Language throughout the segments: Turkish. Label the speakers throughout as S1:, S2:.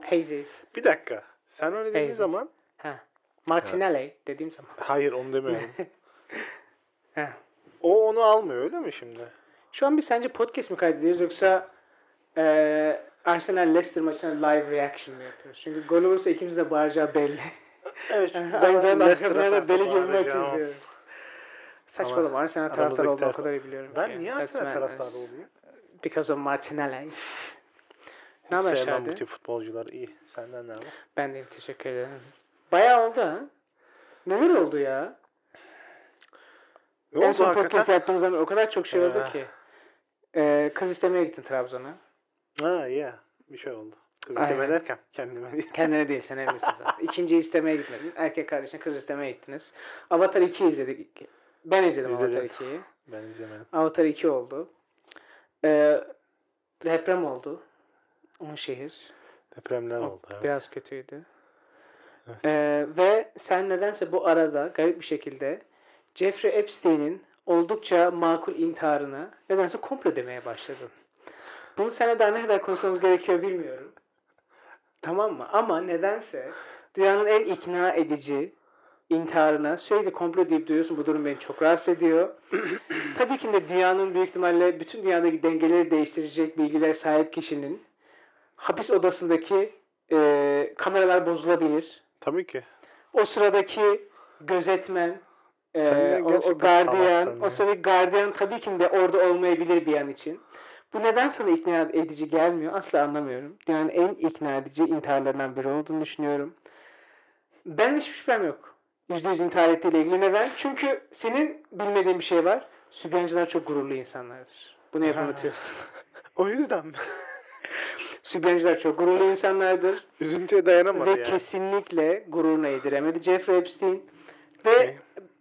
S1: Hayes.
S2: Bir dakika. Sen öyle dediğin
S1: Hayes.
S2: zaman
S1: Ha. Martinelli dediğim zaman.
S2: hayır onu demiyorum.
S1: Ha.
S2: o onu almıyor öyle mi şimdi?
S1: Şu an biz sence podcast mi kaydediyoruz yoksa eee Arsenal Leicester maçına live reaction mı yapıyoruz? Çünkü gol olursa ikimiz de bağıracağı belli.
S2: Evet.
S1: ben zaten arkadan da deli gibi maç izliyorum. Saçmalama Arsenal
S2: aramızdaki
S1: taraftarı olduğunu o
S2: taraf-
S1: kadar iyi biliyorum.
S2: Ben
S1: ki.
S2: niye
S1: That's
S2: Arsenal
S1: madness.
S2: taraftarı olayım?
S1: Because of Martinelli. ne
S2: Hiç
S1: haber
S2: sevmem bu
S1: Şadi?
S2: tip futbolcular. iyi. Senden ne haber?
S1: Ben de teşekkür ederim. Bayağı oldu ha. Neler oldu ya?
S2: Ne
S1: en
S2: oldu
S1: son
S2: hakikaten?
S1: podcast yaptığımız zaman o kadar çok şey oldu
S2: Eh.
S1: ki. Eee, kız istemeye gittin Trabzon'a.
S2: Ha ya. Bir şey oldu. Kızı
S1: Aynen.
S2: severken kendime değil.
S1: Kendine değil sen evlisin zaten. İkinciyi istemeye gitmedin. Erkek kardeşine kız istemeye gittiniz. Avatar 2 izledik. Ben izledim
S2: İzledim.
S1: Avatar 2'yi.
S2: Ben izlemedim.
S1: Avatar 2 oldu. Ee, deprem oldu. Onun şehir.
S2: Depremler
S1: O
S2: oldu. evet.
S1: Biraz kötüydü.
S2: Evet.
S1: Ee, ve sen nedense bu arada garip bir şekilde Jeffrey Epstein'in oldukça makul intiharına nedense komplo demeye başladın. Bunu sana daha ne kadar konuşmamız gerekiyor bilmiyorum. Tamam mı? Ama nedense dünyanın en ikna edici intiharına sürekli komplo deyip duyuyorsun. Bu durum beni çok rahatsız ediyor. Tabii ki de dünyanın büyük ihtimalle bütün dünyadaki dengeleri değiştirecek bilgiler sahip kişinin hapis odasındaki e, kameralar bozulabilir.
S2: Tabii ki.
S1: O sıradaki gözetmen, e,
S2: Sen de
S1: o, o
S2: gerçekten salaksın
S1: gardiyan,
S2: ya.
S1: o sıradaki gardiyan tabii ki de orada olmayabilir bir an için. Bu neden sana ikna edici gelmiyor asla anlamıyorum. Dünyanın en ikna edici intiharlarından biri olduğunu düşünüyorum. Benim hiçbir şüphem yok. %100 intihar ettiğiyle ilgili neden? Çünkü senin bilmediğin bir şey var. Sübyancılar çok gururlu insanlardır. Bunu hep
S2: Ha.
S1: unutuyorsun.
S2: O yüzden mi?
S1: Sübyancılar çok gururlu insanlardır.
S2: Üzüntüye dayanamadı
S1: Ve
S2: yani.
S1: kesinlikle gururuna yediremedi Jeffrey Epstein. Ve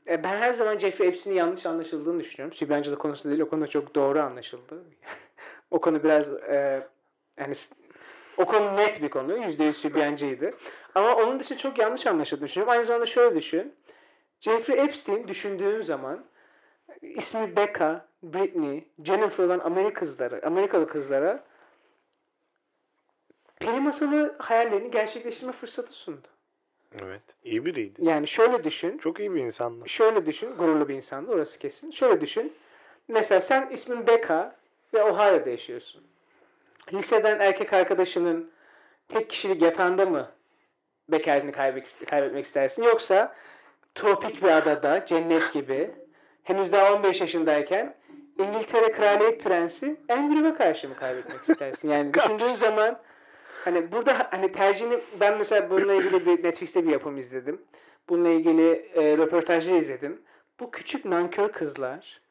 S1: e, ben her zaman Jeffrey Epstein'in yanlış anlaşıldığını düşünüyorum. Sübyancılı konusunda değil, o konuda çok doğru anlaşıldı. o konu biraz e, yani s- o konu net bir konu. %100 Sübyancıydı. Ama onun dışında çok yanlış anlaşıldığını düşünüyorum. Aynı zamanda şöyle düşün. Jeffrey Epstein düşündüğün zaman ismi Becca, Britney, Jennifer olan Amerika kızları, Amerikalı kızlara peri masalı hayallerini gerçekleştirme fırsatı sundu.
S2: Evet. İyi biriydi.
S1: Yani şöyle düşün.
S2: Çok iyi bir insandı.
S1: Şöyle düşün. Gururlu bir insandı orası kesin. Şöyle düşün. Mesela sen ismin Becca ve Ohio'da yaşıyorsun. Liseden erkek arkadaşının tek kişilik yatağında mı bekaretini kaybet- kaybetmek istersin? Yoksa tropik bir adada, cennet gibi henüz daha 15 yaşındayken İngiltere Kraliyet Prensi Andrew'a karşı mı kaybetmek istersin? Yani
S2: Karşı.
S1: düşündüğün zaman hani burada hani tercihini ben mesela bununla ilgili bir Netflix'te bir yapım izledim. Bununla ilgili e, röportajı izledim. Bu küçük nankör kızlar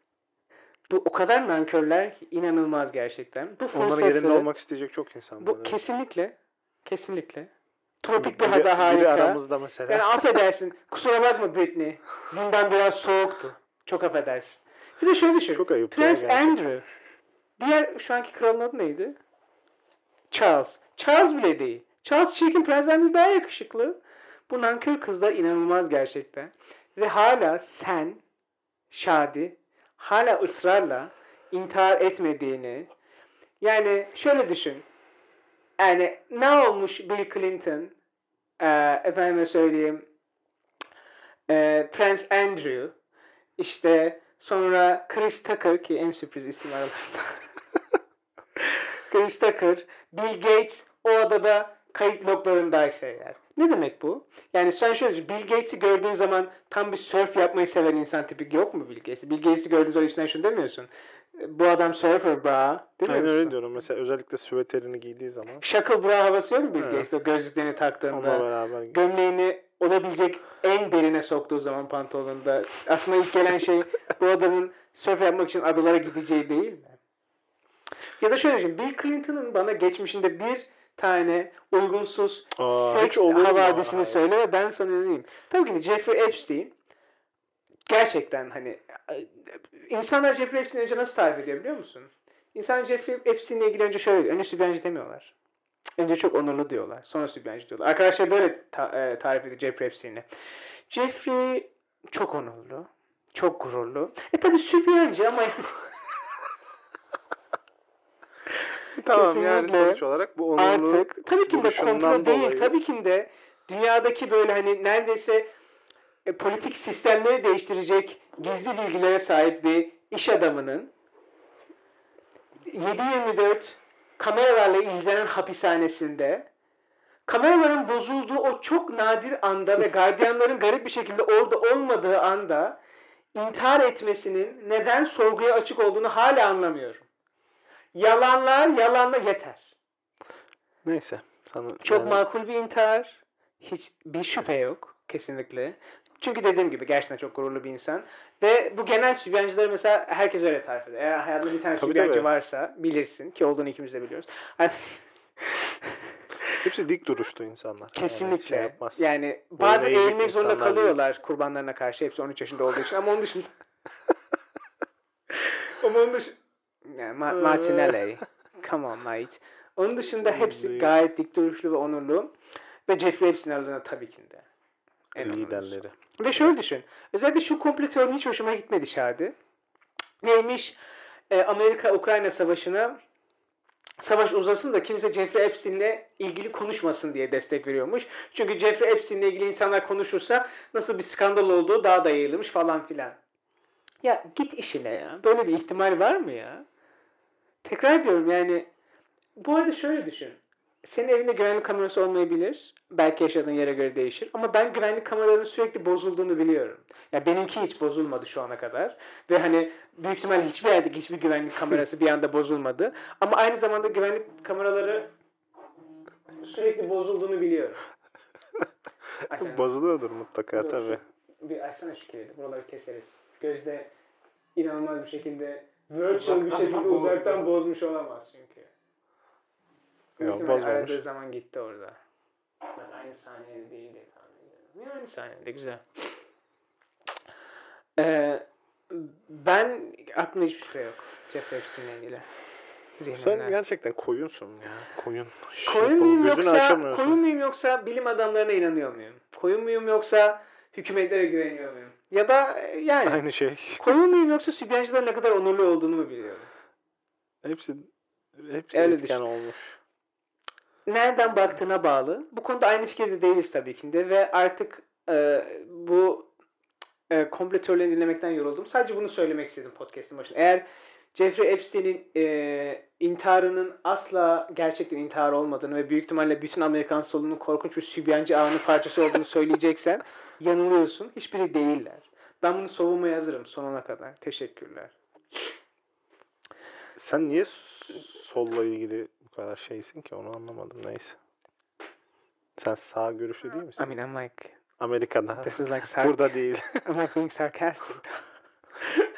S1: bu o kadar nankörler ki inanılmaz gerçekten. Bu
S2: Onların yerinde
S1: fırsatı-
S2: olmak isteyecek çok insan
S1: bu
S2: var, evet.
S1: kesinlikle. Kesinlikle. Tropik bir
S2: Biri-
S1: hava
S2: Biri
S1: harika.
S2: aramızda mesela.
S1: Yani affedersin. Kusura bakma Britney. Zindan biraz soğuktu. Çok affedersin. Bir de şöyle düşün.
S2: Çok ayıp
S1: Prens
S2: ya gerçekten.
S1: Andrew. Diğer şu anki kralın adı neydi? Charles. Charles bile değil. Charles çirkin Prens Andrew daha yakışıklı. Bu nankör kızlar inanılmaz gerçekten. Ve hala sen Şadi hala ısrarla intihar etmediğini yani şöyle düşün. Yani ne olmuş Bill Clinton e, efendime söyleyeyim e, Prince Andrew işte sonra Chris Tucker ki en sürpriz isim aralarında. Chris Tucker, Bill Gates o adada kayıt loglarındaysa eğer. Ne demek bu? Yani sen şöyle düşün. Bill Gates'i gördüğün zaman tam bir surf yapmayı seven insan tipi yok mu Bill Gates'i? Bill Gates'i gördüğün zaman içinden şunu demiyorsun. Bu adam surfer bra. Demiyor
S2: Aynen
S1: musun?
S2: öyle diyorum. Mesela özellikle süveterini giydiği zaman
S1: Şakıl bra havası yok mu Bill
S2: Evet.
S1: Gates'te? O gözlüklerini
S2: onunla
S1: taktığında.
S2: beraber
S1: Gömleğini olabilecek en derine soktuğu zaman pantolonunda. Aklına ilk gelen şey bu adamın surf yapmak için adalara gideceği değil mi? Ya da şöyle düşün. Bill Clinton'ın bana geçmişinde bir tane uygunsuz
S2: Aa, hiç
S1: seks
S2: olur mu?
S1: havadisini
S2: Hayır.
S1: söyle ve ben sana inanayım. Tabii ki de Jeffrey Epstein gerçekten hani e, insanlar Jeffrey Epstein'i önce nasıl tarif ediyor biliyor musun? İnsanlar Jeffrey Epstein'le ilgili önce şöyle diyor. Önce sübyancı demiyorlar. Önce çok onurlu diyorlar. Sonra sübyancı diyorlar. Arkadaşlar böyle ta- e, tarif ediyor Jeffrey Epstein'i. Jeffrey çok onurlu. Çok gururlu. E tabi sübyancı ama
S2: tamam yani
S1: Kesinlikle.
S2: sonuç olarak bu onurlu
S1: artık tabii ki de
S2: duruşundan
S1: komplo değil
S2: dolayı-
S1: tabii ki de dünyadaki böyle hani neredeyse e, politik sistemleri değiştirecek gizli bilgilere sahip bir iş adamının 7-24 kameralarla izlenen hapishanesinde kameraların bozulduğu o çok nadir anda ve gardiyanların garip bir şekilde orada olmadığı anda intihar etmesinin neden sorguya açık olduğunu hala anlamıyorum. Yalanlar yalanla yeter.
S2: Neyse. Sana
S1: Çok
S2: yani
S1: makul bir intihar. Hiç bir şüphe yok kesinlikle. Çünkü dediğim gibi gerçekten çok gururlu bir insan. Ve bu genel sübyancıları mesela herkes öyle tarif eder. Eğer hayatında bir tane
S2: Tabii,
S1: sübyancı
S2: tabii.
S1: varsa bilirsin ki olduğunu ikimiz de biliyoruz. Hani
S2: Hepsi dik duruşlu insanlar.
S1: kesinlikle.
S2: Yani,
S1: Yani,
S2: şey yapmaz.
S1: bazen
S2: eğilmek
S1: eğilmek zorunda
S2: insanlar değil.
S1: kalıyorlar kurbanlarına karşı. Hepsi 13 yaşında olduğu için ama onun dışında. ama onun dışında... Yani Ma-
S2: Ee.
S1: Martinelli. Come on mate. Onun dışında hepsi
S2: Zayıf.
S1: gayet dik duruşlu ve onurlu. Ve Jeffrey hepsinin aralarında tabii ki de. En onurlusu.
S2: liderleri.
S1: Ve şöyle düşün. Özellikle şu komplo teorim hiç hoşuma gitmedi Şadi. Neymiş? E, Amerika-Ukrayna savaşına savaş uzasın da kimse Jeffrey Epstein'le ilgili konuşmasın diye destek veriyormuş. Çünkü Jeffrey Epstein'le ilgili insanlar konuşursa nasıl bir skandal olduğu daha da yayılmış falan filan. Ya git işine ya. Böyle bir ihtimal var mı ya? Tekrar diyorum yani. Bu arada şöyle düşün. Senin evinde güvenlik kamerası olmayabilir. Belki yaşadığın yere göre değişir. Ama ben güvenlik kameralarının sürekli bozulduğunu biliyorum. Ya benimki hiç bozulmadı şu ana kadar. Ve hani büyük ihtimal hiçbir yerdeki hiçbir güvenlik kamerası bir anda bozulmadı. Ama aynı zamanda güvenlik kameraları sürekli bozulduğunu biliyorum. Açsana.
S2: Bozuluyordur mutlaka
S1: Dur,
S2: tabii.
S1: Bir açsana şu kilidi. Buraları keseriz. Gözde inanılmaz bir şekilde virtual bir
S2: Uzaktan
S1: şekilde
S2: bozdu.
S1: uzaktan bozmuş olamaz çünkü.
S2: Yok,
S1: Muhtemelen
S2: bozmamış.
S1: Aradığı zaman gitti orada. Bak aynı saniyede değil diye tahmin ediyorum. Yani aynı saniyede güzel. Ee, ben aklımda hiçbir şey yok. Jeff Epstein'le ilgili.
S2: Sen
S1: Zihnimden.
S2: gerçekten koyunsun ya. Koyun. Şey
S1: Koyun
S2: yapalım,
S1: muyum
S2: gözünü
S1: yoksa
S2: açamıyorsun.
S1: koyun muyum yoksa bilim adamlarına inanıyor muyum? Koyun muyum yoksa hükümetlere güveniyor muyum? Ya da e, yani
S2: Aynı şey.
S1: koyun muyum yoksa sübyancıların ne kadar onurlu olduğunu mu biliyorum?
S2: Hepsi hepsi
S1: Öyle
S2: etken
S1: düşün.
S2: olmuş.
S1: Nereden baktığına bağlı. Bu konuda aynı fikirde değiliz tabii ki de ve artık e, bu e, komple teorilerini dinlemekten yoruldum. Sadece bunu söylemek istedim podcast'ın başında. Eğer Jeffrey Epstein'in e, intiharının asla gerçekten intihar olmadığını ve büyük ihtimalle bütün Amerikan solunun korkunç bir sübyancı ağının parçası olduğunu söyleyeceksen yanılıyorsun. Hiçbiri değiller. Ben bunu savunmaya hazırım sonuna kadar. Teşekkürler.
S2: Sen niye s- solla ilgili bu kadar şeysin ki onu anlamadım neyse. Sen sağ görüşlü değil misin?
S1: I mean I'm like
S2: Amerika'da.
S1: this is like sar-
S2: Burada değil.
S1: I'm like being sarcastic.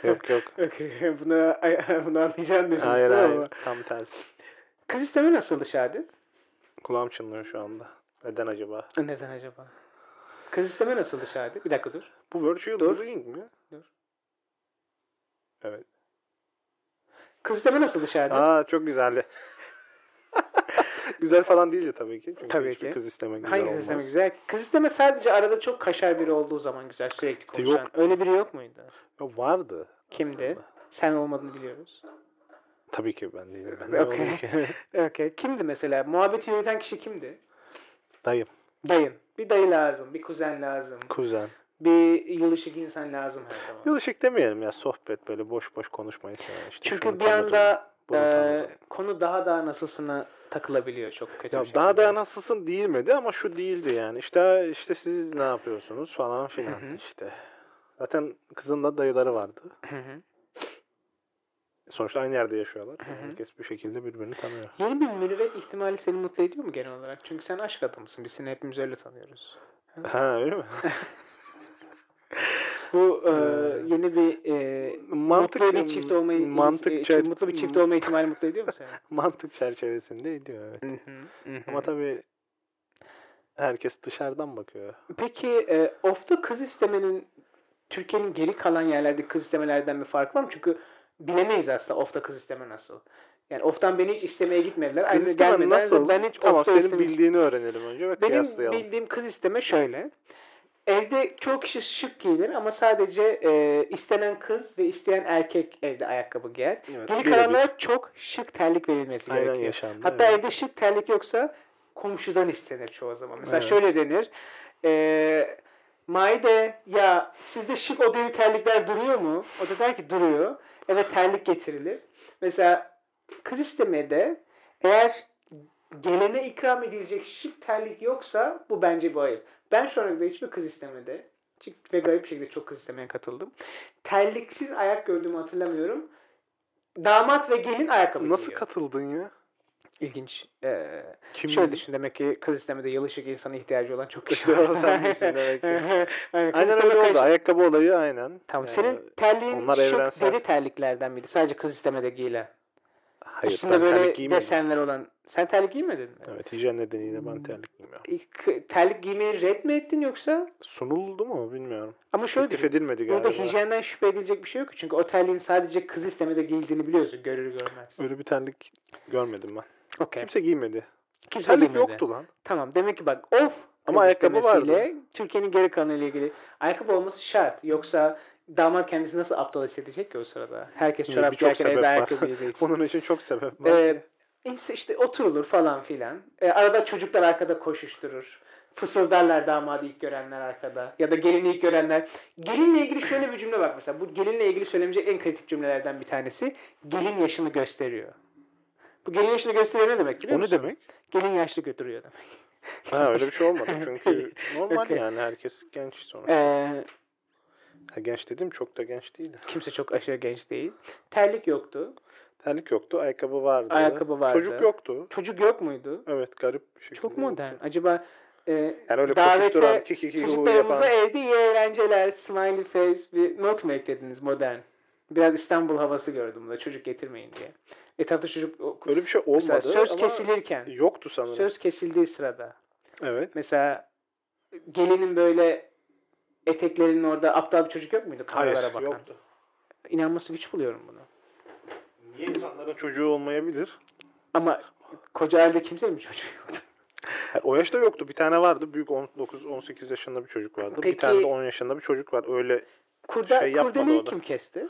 S2: yok yok.
S1: Okay, bunu, ay- bunu anlayacağını düşünmüştüm
S2: Hayır
S1: ama.
S2: hayır. Tam tersi.
S1: Kız isteme nasıldı Şadi?
S2: Kulağım çınlıyor şu anda. Neden acaba?
S1: Neden acaba? Kız isteme nasıldı Şadi? Bir dakika dur.
S2: Bu virtual
S1: Dur.
S2: ring mi?
S1: Kız isteme nasıldı Şadi?
S2: Aa çok güzeldi. güzel falan değildi tabii ki. Çünkü
S1: Tabii
S2: hiçbir
S1: ki.
S2: Kız isteme güzel
S1: Hangi
S2: olmaz.
S1: kız isteme güzel? Kız isteme sadece arada çok kaşar biri olduğu zaman güzel sürekli konuşan.
S2: Yok.
S1: Öyle biri yok muydu?
S2: Ya vardı.
S1: Kimdi?
S2: aslında.
S1: Sen olmadığını biliyoruz.
S2: Tabii ki ben değilim. Ben
S1: Okey.
S2: değilim ki.
S1: Okay. Kimdi mesela? Muhabbeti yürüten kişi kimdi?
S2: Dayım,
S1: Dayın. Bir dayı lazım, bir kuzen lazım,
S2: kuzen.
S1: bir yılışık insan lazım her zaman.
S2: Yılışık demeyelim ya sohbet böyle boş boş konuşmayı seven işte. şunu
S1: Çünkü bir
S2: tanıdım,
S1: anda
S2: bunu
S1: e,
S2: tanıdım.
S1: konu daha daha nasılsına takılabiliyor çok kötü bir
S2: Ya
S1: şekilde.
S2: daha da nasılsın değil miydi ama şu değildi yani. İşte işte siz ne yapıyorsunuz falan
S1: Hı hı.
S2: filan işte. Zaten kızın da dayıları vardı.
S1: Hı hı.
S2: Sonuçta aynı yerde yaşıyorlar.
S1: Hı hı.
S2: Herkes bir şekilde birbirini tanıyor.
S1: Yeni bir mürüvvet ihtimali seni mutlu ediyor mu genel olarak? Çünkü sen aşk adamısın. Biz seni hepimiz öyle tanıyoruz.
S2: ha öyle mi?
S1: Bu e,
S2: Ee,
S1: yeni bir e, mutlu bir çift olmayı
S2: mantık
S1: e,
S2: çer-
S1: mutlu bir çift olma ihtimali mutlu ediyor mu seni?
S2: mantık çerçevesinde ediyor evet. Ama tabii herkes dışarıdan bakıyor.
S1: Peki e, off'ta kız istemenin Türkiye'nin geri kalan yerlerdeki kız istemelerden bir farkı var mı? Çünkü bilemeyiz aslında off'ta kız isteme nasıl. Yani off'tan beni hiç istemeye gitmediler.
S2: Kız
S1: Aynı
S2: isteme
S1: gelmediler.
S2: nasıl?
S1: Ben hiç
S2: tamam
S1: off'ta
S2: senin
S1: istemeyi-
S2: bildiğini öğrenelim önce ve
S1: Benim
S2: kıyaslayalım.
S1: bildiğim kız isteme şöyle. Evde çok kişi şık giyinir ama sadece e, istenen kız ve isteyen erkek evde ayakkabı giyer.
S2: Evet,
S1: Geri
S2: birebir.
S1: kalanlara çok şık terlik verilmesi
S2: Aynen
S1: gerekiyor.
S2: yaşandı.
S1: Hatta
S2: evet.
S1: evde şık terlik yoksa komşudan istenir çoğu zaman. Mesela
S2: Evet.
S1: şöyle denir. E, Maide ya sizde şık odeli terlikler duruyor mu? O da der ki duruyor. Eve terlik getirilir. Mesela kız istemede eğer gelene ikram edilecek şık terlik yoksa bu bence bir ayıp. Ben şu ana kadar hiçbir kız istemede çık- ve garip bir şekilde çok kız istemeye katıldım. Terliksiz ayak gördüğümü hatırlamıyorum. Damat ve gelin ayakkabı
S2: Nasıl
S1: giyiyor.
S2: katıldın ya?
S1: İlginç. Ee,
S2: Kim
S1: Şöyle düşün demek ki kız istemede yalışık insana ihtiyacı olan çok kişi
S2: İşte
S1: var.
S2: o sen bilirsin demek ki.
S1: Aynen, kız
S2: Aynen
S1: istemede
S2: öyle oldu.
S1: karşı-
S2: Ayakkabı olayı aynen.
S1: Tamam.
S2: Ee,
S1: Senin terliğin
S2: onlar
S1: şık
S2: evrensel.
S1: deri terliklerden miydi? Sadece kız istemede giyilen.
S2: hayır, ben
S1: Üstünde böyle
S2: terlik giymedim.
S1: desenler olan. Sen terlik giymedin mi?
S2: Evet hijyen nedeniyle
S1: Hmm.
S2: ben terlik giymiyorum.
S1: İlk- Terlik giymeyi red mi ettin yoksa?
S2: Sunuldu mu bilmiyorum.
S1: Ama şöyle
S2: Teklif
S1: düşün.
S2: edilmedi galiba.
S1: Burada hijyenden şüphe edilecek bir şey yok. Çünkü o terliğin sadece kız istemede giyildiğini biliyorsun. Görür görmez.
S2: Öyle bir terlik görmedim ben.
S1: Okey.
S2: Kimse giymedi.
S1: Kimse
S2: terlik
S1: giymedi.
S2: yoktu lan.
S1: Tamam demek ki bak of
S2: Ama
S1: kız
S2: ayakkabı vardı.
S1: istemesiyle Türkiye'nin geri kalanıyla ilgili ayakkabı olması şart. Yoksa damat kendisi nasıl aptal hissedecek ki o sırada? Herkes
S2: Yani
S1: çorap
S2: birçok
S1: giyerken
S2: sebep
S1: evde
S2: var.
S1: ayakkabı giydiği için.
S2: Bunun için çok sebep var.
S1: Ee, ins- işte oturulur falan filan. Ee, arada çocuklar arkada koşuşturur. Fısıldarlar damadı ilk görenler arkada. Ya da gelini ilk görenler. Gelinle ilgili şöyle bir cümle bak mesela. Bu gelinle ilgili söylemeyecek en kritik cümlelerden bir tanesi. Gelin yaşını gösteriyor. Bu gelin yaşını gösteriyor ne demek biliyor
S2: o ne
S1: musun?
S2: demek?
S1: Gelin yaşlı götürüyor demek.
S2: Ha öyle bir şey olmadı çünkü normal
S1: Okey.
S2: yani herkes genç sonuçta.
S1: Ee,
S2: Ha, genç dedim çok da genç değildi.
S1: kimse çok aşırı genç değil. Terlik yoktu.
S2: Terlik yoktu, ayakkabı vardı.
S1: Ayakkabı vardı.
S2: Çocuk yoktu.
S1: Çocuk yok muydu?
S2: Evet garip bir şekilde.
S1: Çok modern. Acaba e,
S2: Yani öyle
S1: Davete
S2: koşuşturan, kik kik hu yapan.
S1: çocuklarımıza evde iyi eğlenceler, smiley face bir not mu eklediniz modern? Biraz İstanbul havası gördüm da çocuk getirmeyin diye. Etrafta çocuk
S2: Öyle bir şey olmadı
S1: mesela söz
S2: ama
S1: kesilirken,
S2: yoktu sanırım.
S1: söz kesildiği sırada.
S2: Evet.
S1: Mesela gelinin böyle eteklerinin orada aptal bir çocuk yok muydu? Kameralara
S2: Hayır
S1: bakan.
S2: yoktu.
S1: İnanması güç buluyorum bunu.
S2: Niye insanların çocuğu olmayabilir?
S1: Ama koca elde kimsenin bir çocuğu yoktu.
S2: Ha, O yaşta yoktu. Bir tane vardı. Büyük 19-18 yaşında bir çocuk vardı.
S1: Peki-
S2: Bir tane de 10 yaşında bir çocuk vardı. Öyle
S1: Kurda,
S2: Şey yapmadı
S1: kurdeleyi
S2: o da.
S1: kim kesti?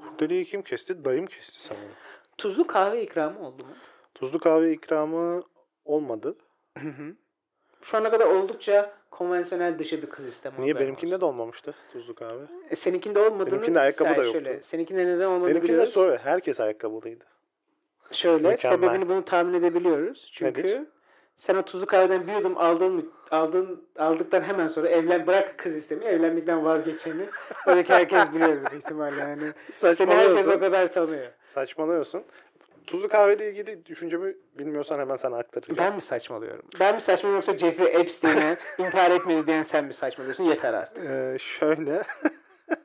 S2: Kurdeleyi kim kesti? Dayım kesti sanırım.
S1: Tuzlu kahve ikramı oldu mu?
S2: Tuzlu kahve ikramı olmadı.
S1: Hı hı. Şu ana kadar oldukça konvansiyonel dışı bir kız isteme.
S2: Niye?
S1: haberin
S2: Benimkinde
S1: olsun.
S2: de olmamıştı tuzlu kahve.
S1: E, seninkinde olmadığını
S2: Benimkinde ayakkabı
S1: say-
S2: da yoktu.
S1: Şöyle, seninkinde neden olmadığını
S2: Benimkinde
S1: biliyoruz.
S2: sonra herkes ayakkabılıydı.
S1: şöyle
S2: Mükemmel.
S1: sebebini bunu tahmin edebiliyoruz. Çünkü
S2: Nedir?
S1: sen o tuzlu kahveden bir yudum aldığın, aldığın, aldıktan hemen sonra evlen bırak kız istemeyi evlenmekten vazgeçeni oradaki herkes biliyordur ihtimalle yani. Seni herkes o
S2: Saçmalıyorsun.
S1: kadar tanıyor.
S2: Saçmalıyorsun. Tuzlu kahveyle ilgili düşüncemi bilmiyorsan hemen sana aktaracağım.
S1: Ben mi saçmalıyorum? Ben mi saçmalıyorum yoksa Jeffrey Epstein'e intihar etmedi diyen sen mi saçmalıyorsun? Yeter artık.
S2: Ee, şöyle.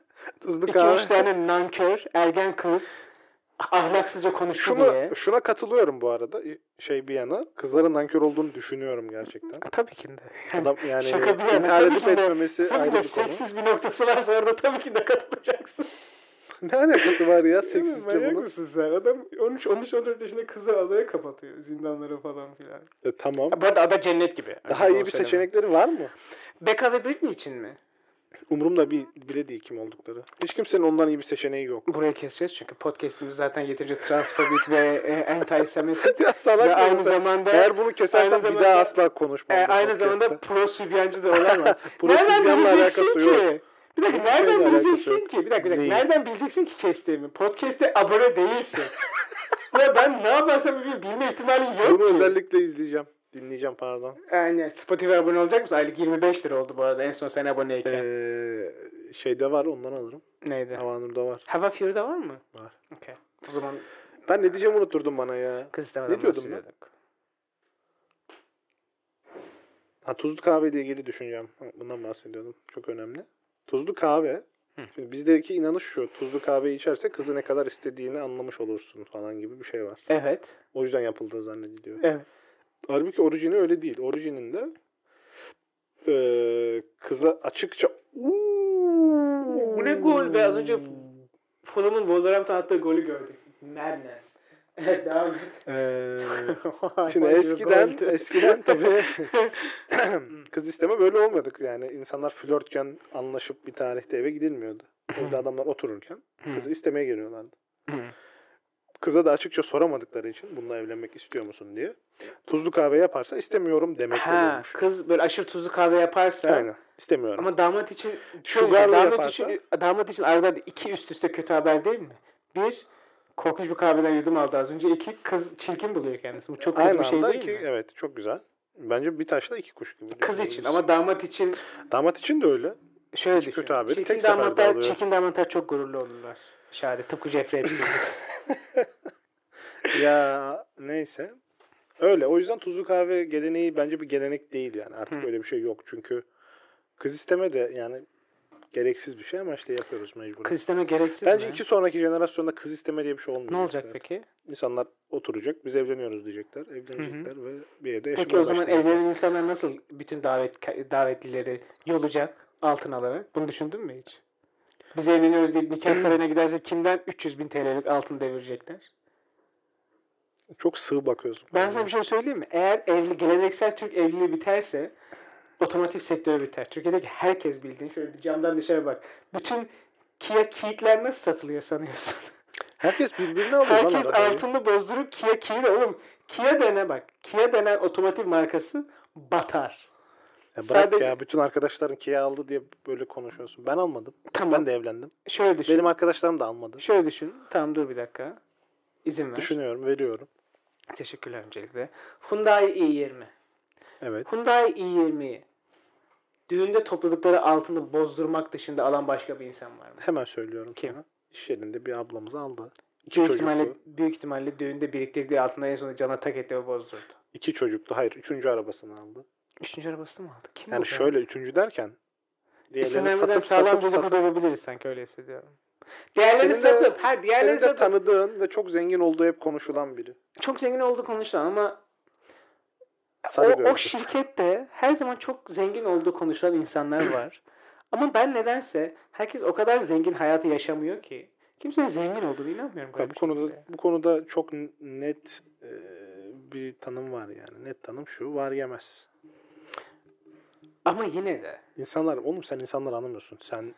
S2: tuzlu
S1: İki
S2: kahve.
S1: üç tane nankör, ergen kız ahlaksızca konuştu diye.
S2: Şuna, şuna katılıyorum bu arada. Şey bir yana. Kızların nankör olduğunu düşünüyorum gerçekten.
S1: Tabii ki de. Yani,
S2: Adam yani
S1: Şaka bir yana,
S2: intihar
S1: tabii
S2: edip
S1: ki de.
S2: etmemesi
S1: tabii
S2: ayrı
S1: ki de
S2: bir konu.
S1: seksiz bir noktası varsa orada tabii ki de katılacaksın.
S2: Ne alakası var ya
S1: Değil mi?
S2: seksizle
S1: Manyak
S2: bunun?
S1: mısın sen? Adam 13-14 yaşında kızı adaya kapatıyor. Zindanlara falan filan.
S2: E, tamam.
S1: Bu arada ada cennet gibi.
S2: Daha iyi bir seçenekleri var mı?
S1: Becca ve Britney için mi?
S2: Umurumda bir, bile değil kim oldukları. Hiç kimsenin ondan iyi bir seçeneği yok.
S1: Burayı keseceğiz çünkü podcastimiz zaten yeterince transfobik ve e, anti-semitik.
S2: ya salak
S1: ve aynı
S2: mısın?
S1: zamanda
S2: Eğer bunu kesersen
S1: aynı
S2: bir
S1: zamanda-
S2: daha asla konuşmam.
S1: e,
S2: bu
S1: aynı
S2: podcast'te.
S1: zamanda pro sübyancı da olamaz.
S2: Pro
S1: nereden
S2: Sübyan'la
S1: bileceksin
S2: alakası
S1: ki?
S2: yok.
S1: Bir dakika
S2: Hiçbir şeyle
S1: nereden
S2: alakası
S1: bileceksin
S2: yok.
S1: ki? Bir dakika, bir dakika.
S2: Neyi?
S1: Nereden bileceksin ki kestiğimi? Podcast'e abone değilsin. ya ben ne yaparsam yapayım bilme ihtimalin yok
S2: Bunu
S1: ki.
S2: özellikle izleyeceğim. Dinleyeceğim pardon.
S1: Yani Spotify abone olacak mısın? Aylık 25 lira oldu bu arada en son sen aboneyken.
S2: Ee, şeyde var ondan alırım.
S1: Neydi?
S2: Havanur'da var.
S1: Hava Fury'de var mı?
S2: Var.
S1: Okey. O zaman
S2: Ben ne diyeceğimi unuturdum bana ya.
S1: kız istemeden
S2: Ne diyordum ben?
S1: bahsediyorduk.
S2: Ha, tuzlu kahve ile ilgili düşüneceğim. Ha, Bundan bahsediyordum. Çok önemli. Tuzlu kahve.
S1: Hı.
S2: Şimdi bizdeki inanış şu. Tuzlu kahveyi içerse kızı ne kadar istediğini anlamış olursun falan gibi bir şey var.
S1: Evet.
S2: O yüzden yapıldığı zannediliyor.
S1: Evet.
S2: Halbuki orijini öyle değil. Orijininde eee, kıza açıkça
S1: Bu ne gol be? Az önce Fulham'ın Wolverhampton attığı golü gördük. Madness. Evet devam et.
S2: Eee, Ee, Şimdi
S1: Hayvan gibi
S2: eskiden
S1: golde.
S2: eskiden tabii kız isteme böyle olmadık yani insanlar flörtken anlaşıp bir tarihte eve gidilmiyordu. Evde adamlar otururken kızı istemeye geliyorlardı. Kıza da açıkça soramadıkları için bununla evlenmek istiyor musun diye. Tuzlu kahve yaparsa istemiyorum demek
S1: ha,
S2: oluyormuş.
S1: kız böyle aşırı tuzlu kahve yaparsa
S2: Aynen. İstemiyorum.
S1: ama damat için
S2: Sugarlı
S1: damat
S2: yaparsa-
S1: için damat için arada iki üst üste kötü haber değil mi? Bir korkunç bir kahveden yudum aldı az önce. İki kız çirkin buluyor kendisi. Bu çok kötü
S2: Aynı
S1: bir şey
S2: anda
S1: değil
S2: iki,
S1: mi?
S2: evet çok güzel. Bence bir taşla iki kuş gibi.
S1: Kız
S2: diyoruz.
S1: için ama damat için
S2: damat için de öyle.
S1: şöyle
S2: Kötü
S1: düşün.
S2: haberi
S1: çirkin
S2: tek seferde
S1: damatlar,
S2: alıyor.
S1: çirkin damatlar çok gururlu olurlar. Şahane. Tıpkı Jeffrey Epstein. gibi.
S2: ya neyse. Öyle. O yüzden tuzlu kahve geleneği bence bir gelenek değil yani. Artık
S1: Hı.
S2: öyle bir şey yok. Çünkü kız isteme de yani gereksiz bir şey ama işte yapıyoruz mecburen.
S1: Kız isteme gereksiz
S2: bence
S1: mi?
S2: iki sonraki jenerasyonda kız isteme diye bir şey olmayacak.
S1: ne olacak
S2: zaten.
S1: peki?
S2: İnsanlar oturacak, biz evleniyoruz diyecekler. Evlenecekler ve bir evde yaşamaya
S1: Peki o zaman
S2: başlayacaklar.
S1: evlenen insanlar nasıl bütün davet davetlileri yolacak altın alarak? Bunu düşündün mü hiç? Biz evleniyoruz deyip nikah
S2: Hmm.
S1: sarayına gidersek kimden 300 bin TL'lik altın devirecekler?
S2: Çok sığ bakıyorsun.
S1: Ben sana bir şey söyleyeyim mi? Eğer evli, geleneksel Türk evliliği biterse otomotiv sektörü biter. Türkiye'deki herkes bildiğin şöyle bir camdan dışarı bak. Bütün Kia Keyik'ler nasıl satılıyor sanıyorsun?
S2: Herkes birbirine alıyor. lan
S1: şey- Herkes
S2: arabayı.
S1: altını bozdurup Kia Kia de oğlum Kia dene bak. Kia denen otomotiv markası batar.
S2: Ya bırak
S1: Sadece-
S2: ya bütün arkadaşların Kia aldı diye böyle konuşuyorsun. Ben almadım.
S1: Tamam.
S2: Ben de evlendim.
S1: Şöyle düşün.
S2: Benim arkadaşlarım da almadı.
S1: Şöyle düşün. Tamam dur bir dakika. İzin ver.
S2: Düşünüyorum, veriyorum.
S1: Teşekkürler öncelikle. Hyundai i20.
S2: Evet.
S1: Hyundai i20'yi düğünde topladıkları altını bozdurmak dışında alan başka bir insan var mı?
S2: Hemen söylüyorum.
S1: Kim?
S2: sana. İş yerinde bir ablamız aldı. İki
S1: Büyük
S2: çocuklu.
S1: ihtimalle, büyük ihtimalle düğünde biriktirdiği altında en sonunda cana tak etti ve bozdurdu.
S2: İki çocuklu. Hayır, üçüncü arabasını aldı.
S1: Üçüncü arabasını mı aldı? Kim
S2: Yani
S1: bu be?
S2: şöyle üçüncü derken
S1: İsim
S2: diğerlerini
S1: vermeden
S2: satıp
S1: sağlam
S2: satıp
S1: bir
S2: satıp
S1: okul olabiliriz sanki öyle hissediyorum. Diğerlerini
S2: Senin de-
S1: satıp, ha diğerlerini
S2: senin de
S1: satıp.
S2: tanıdığın ve çok zengin olduğu hep konuşulan biri.
S1: çok zengin olduğu konuşulan ama
S2: Sarı
S1: o, o
S2: gözlü.
S1: şirkette her zaman çok zengin olduğu konuşulan insanlar var. Ama ben nedense herkes o kadar zengin hayatı yaşamıyor ki. Kimsenin zengin olduğunu inanmıyorum.
S2: Ya
S1: garip
S2: bu
S1: bir
S2: konuda
S1: şekilde.
S2: bu konuda çok n- net e, bir tanım var yani. Net tanım şu. Var yemez.
S1: Ama yine de.
S2: İnsanlar oğlum sen insanları anlamıyorsun. Sen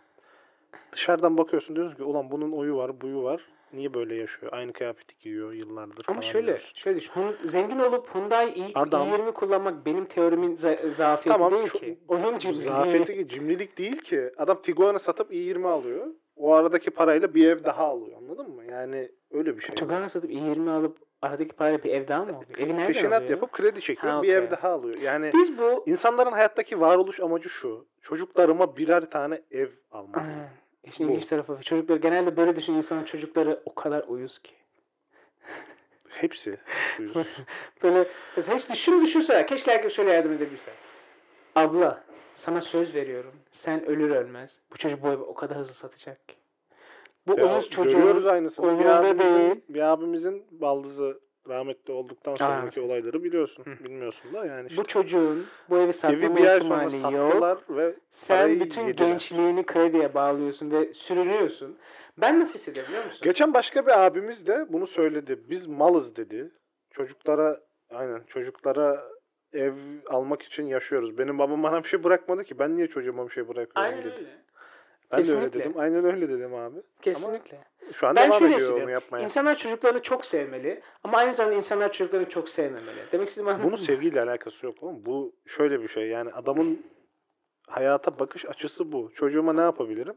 S2: dışarıdan bakıyorsun diyorsun ki ulan bunun oyu var, buyu var. Niye böyle yaşıyor? Aynı kıyafeti giyiyor yıllardır
S1: Ama
S2: falan
S1: şöyle,
S2: diyorsun.
S1: şöyle düşün. Hun- zengin olup Hyundai i,
S2: Adam-
S1: i20 kullanmak benim teorimin za- zafiyeti
S2: Tamam,
S1: değil
S2: şu-
S1: ki. Onun
S2: Bu
S1: cimri.
S2: Zafiyeti ki cimrilik değil ki. Adam Tiguan'ı satıp i20 alıyor. O aradaki parayla bir ev daha alıyor. Anladın mı? Yani öyle bir şey.
S1: Tugana satıp i20 alıp aradaki parayla bir ev daha mı oluyor? Evi nereden
S2: Peşinat
S1: alıyor?
S2: yapıp kredi çekiyor.
S1: Ha,
S2: Bir
S1: okey.
S2: ev daha alıyor. Yani
S1: Biz bu...
S2: insanların hayattaki varoluş amacı şu. Çocuklarıma birer tane ev almak.
S1: Aynen. İşin
S2: Bu.
S1: Ah, ilginç tarafı. Çocuklar genelde böyle düşün insanın çocukları o kadar uyuz ki.
S2: Hepsi. Buyurun.
S1: Böyle mesela hiç düşün düşünsene. Keşke herkes şöyle yardım edebilse. Abla sana söz veriyorum. Sen ölür ölmez. Bu çocuk bu evi o kadar hızlı satacak ki. Bu
S2: Ya,
S1: onun
S2: görüyoruz
S1: çocuğu.
S2: aynısını. Bir
S1: umurunda değil.
S2: abimizin, bir abimizin baldızı rahmetli olduktan sonraki olayları biliyorsun.
S1: Hı.
S2: Bilmiyorsun da yani işte.
S1: Bu çocuğun bu evi
S2: Evi
S1: satma
S2: bir ay sonra
S1: ihtimali yok.
S2: sattılar ve
S1: Sen
S2: parayı
S1: bütün
S2: yediler.
S1: gençliğini krediye bağlıyorsun ve sürünüyorsun. Ben nasıl hissediyorum biliyor musun?
S2: geçen başka bir abimiz de bunu söyledi. Biz malız dedi. Çocuklara aynen çocuklara ev almak için yaşıyoruz. Benim babam bana bir şey bırakmadı ki. Ben niye çocuğuma bir şey bırakıyorum
S1: Aynen
S2: dedi.
S1: öyle.
S2: Ben de
S1: Kesinlikle.
S2: öyle dedim. Aynen öyle dedim abi.
S1: Kesinlikle.
S2: Şu an
S1: Ben şey
S2: devam
S1: şöyle
S2: ediyor onu
S1: hissediyorum.
S2: yapmaya.
S1: İnsanlar çocuklarını çok sevmeli ama aynı zamanda insanlar çocuklarını çok sevmemeli. Demek istediğim anladın
S2: Bunun
S1: mı?
S2: sevgiyle alakası yok oğlum. Bu şöyle bir şey yani adamın hayata bakış açısı bu. Çocuğuma ne yapabilirim?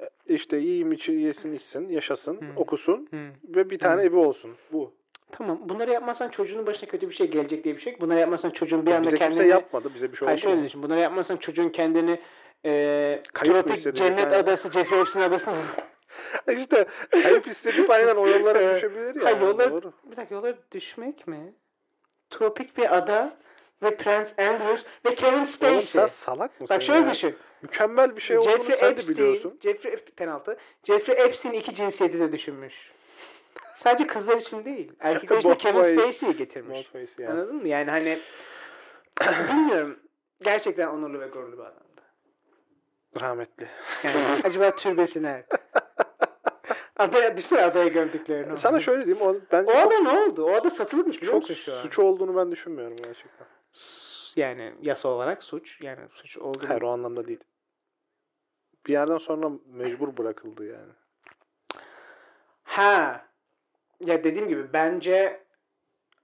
S2: E, İşte yiyeyim, içi, yesin, içsin, yaşasın,
S1: Hmm.
S2: okusun
S1: Hı.
S2: ve bir tane
S1: Hmm.
S2: evi olsun. Bu.
S1: Tamam. Bunları yapmazsan çocuğunun başına kötü bir şey gelecek diye bir şey yok. Bunları yapmazsan çocuğun bir
S2: Ya
S1: anda
S2: bize
S1: kendini...
S2: kimse yapmadı. Bize bir şey
S1: Hayır
S2: oldu.
S1: şöyle
S2: mu?
S1: düşün. Bunları yapmazsan çocuğun kendini e,
S2: Kayıp mı
S1: tropik
S2: hissediyor?
S1: cennet
S2: Yani-
S1: adası, Jeffrey Epstein adasına...
S2: işte kayıp hissedip aynen o yollara
S1: Evet.
S2: düşebilir ya.
S1: Hayır, yollara-
S2: Doğru.
S1: bir dakika yola düşmek mi? Tropik bir ada ve Prince Andrews ve Kevin
S2: Oğlum
S1: Spacey.
S2: sen salak mısın
S1: Bak şöyle
S2: ya?
S1: düşün.
S2: Mükemmel bir şey olduğunu
S1: Jeffrey
S2: sen de
S1: Epstein,
S2: biliyorsun.
S1: Jeffrey Ep- penaltı. Jeffrey Epstein iki cinsiyeti de düşünmüş. Sadece kızlar için değil. Erkekler için de
S2: Both
S1: Kevin
S2: ways.
S1: Spacey'i getirmiş.
S2: Malface yani.
S1: Anladın mı? Yani hani bilmiyorum. Gerçekten onurlu ve gururlu bir adamdı.
S2: Rahmetli.
S1: Yani acaba türbesi nerede? Adaya, düşünsene adaya gömdüklerini.
S2: Sana şöyle diyeyim. O, bence
S1: O
S2: çok,
S1: ada ne oldu? O ada satılıkmış biliyor
S2: çok
S1: musun şu an?
S2: suç olduğunu ben düşünmüyorum gerçekten.
S1: S- Yani yasa olarak suç. Yani suç oldu.
S2: Hayır o anlamda değil. Bir yerden sonra mecbur bırakıldı yani.
S1: Ha. Ya dediğim gibi bence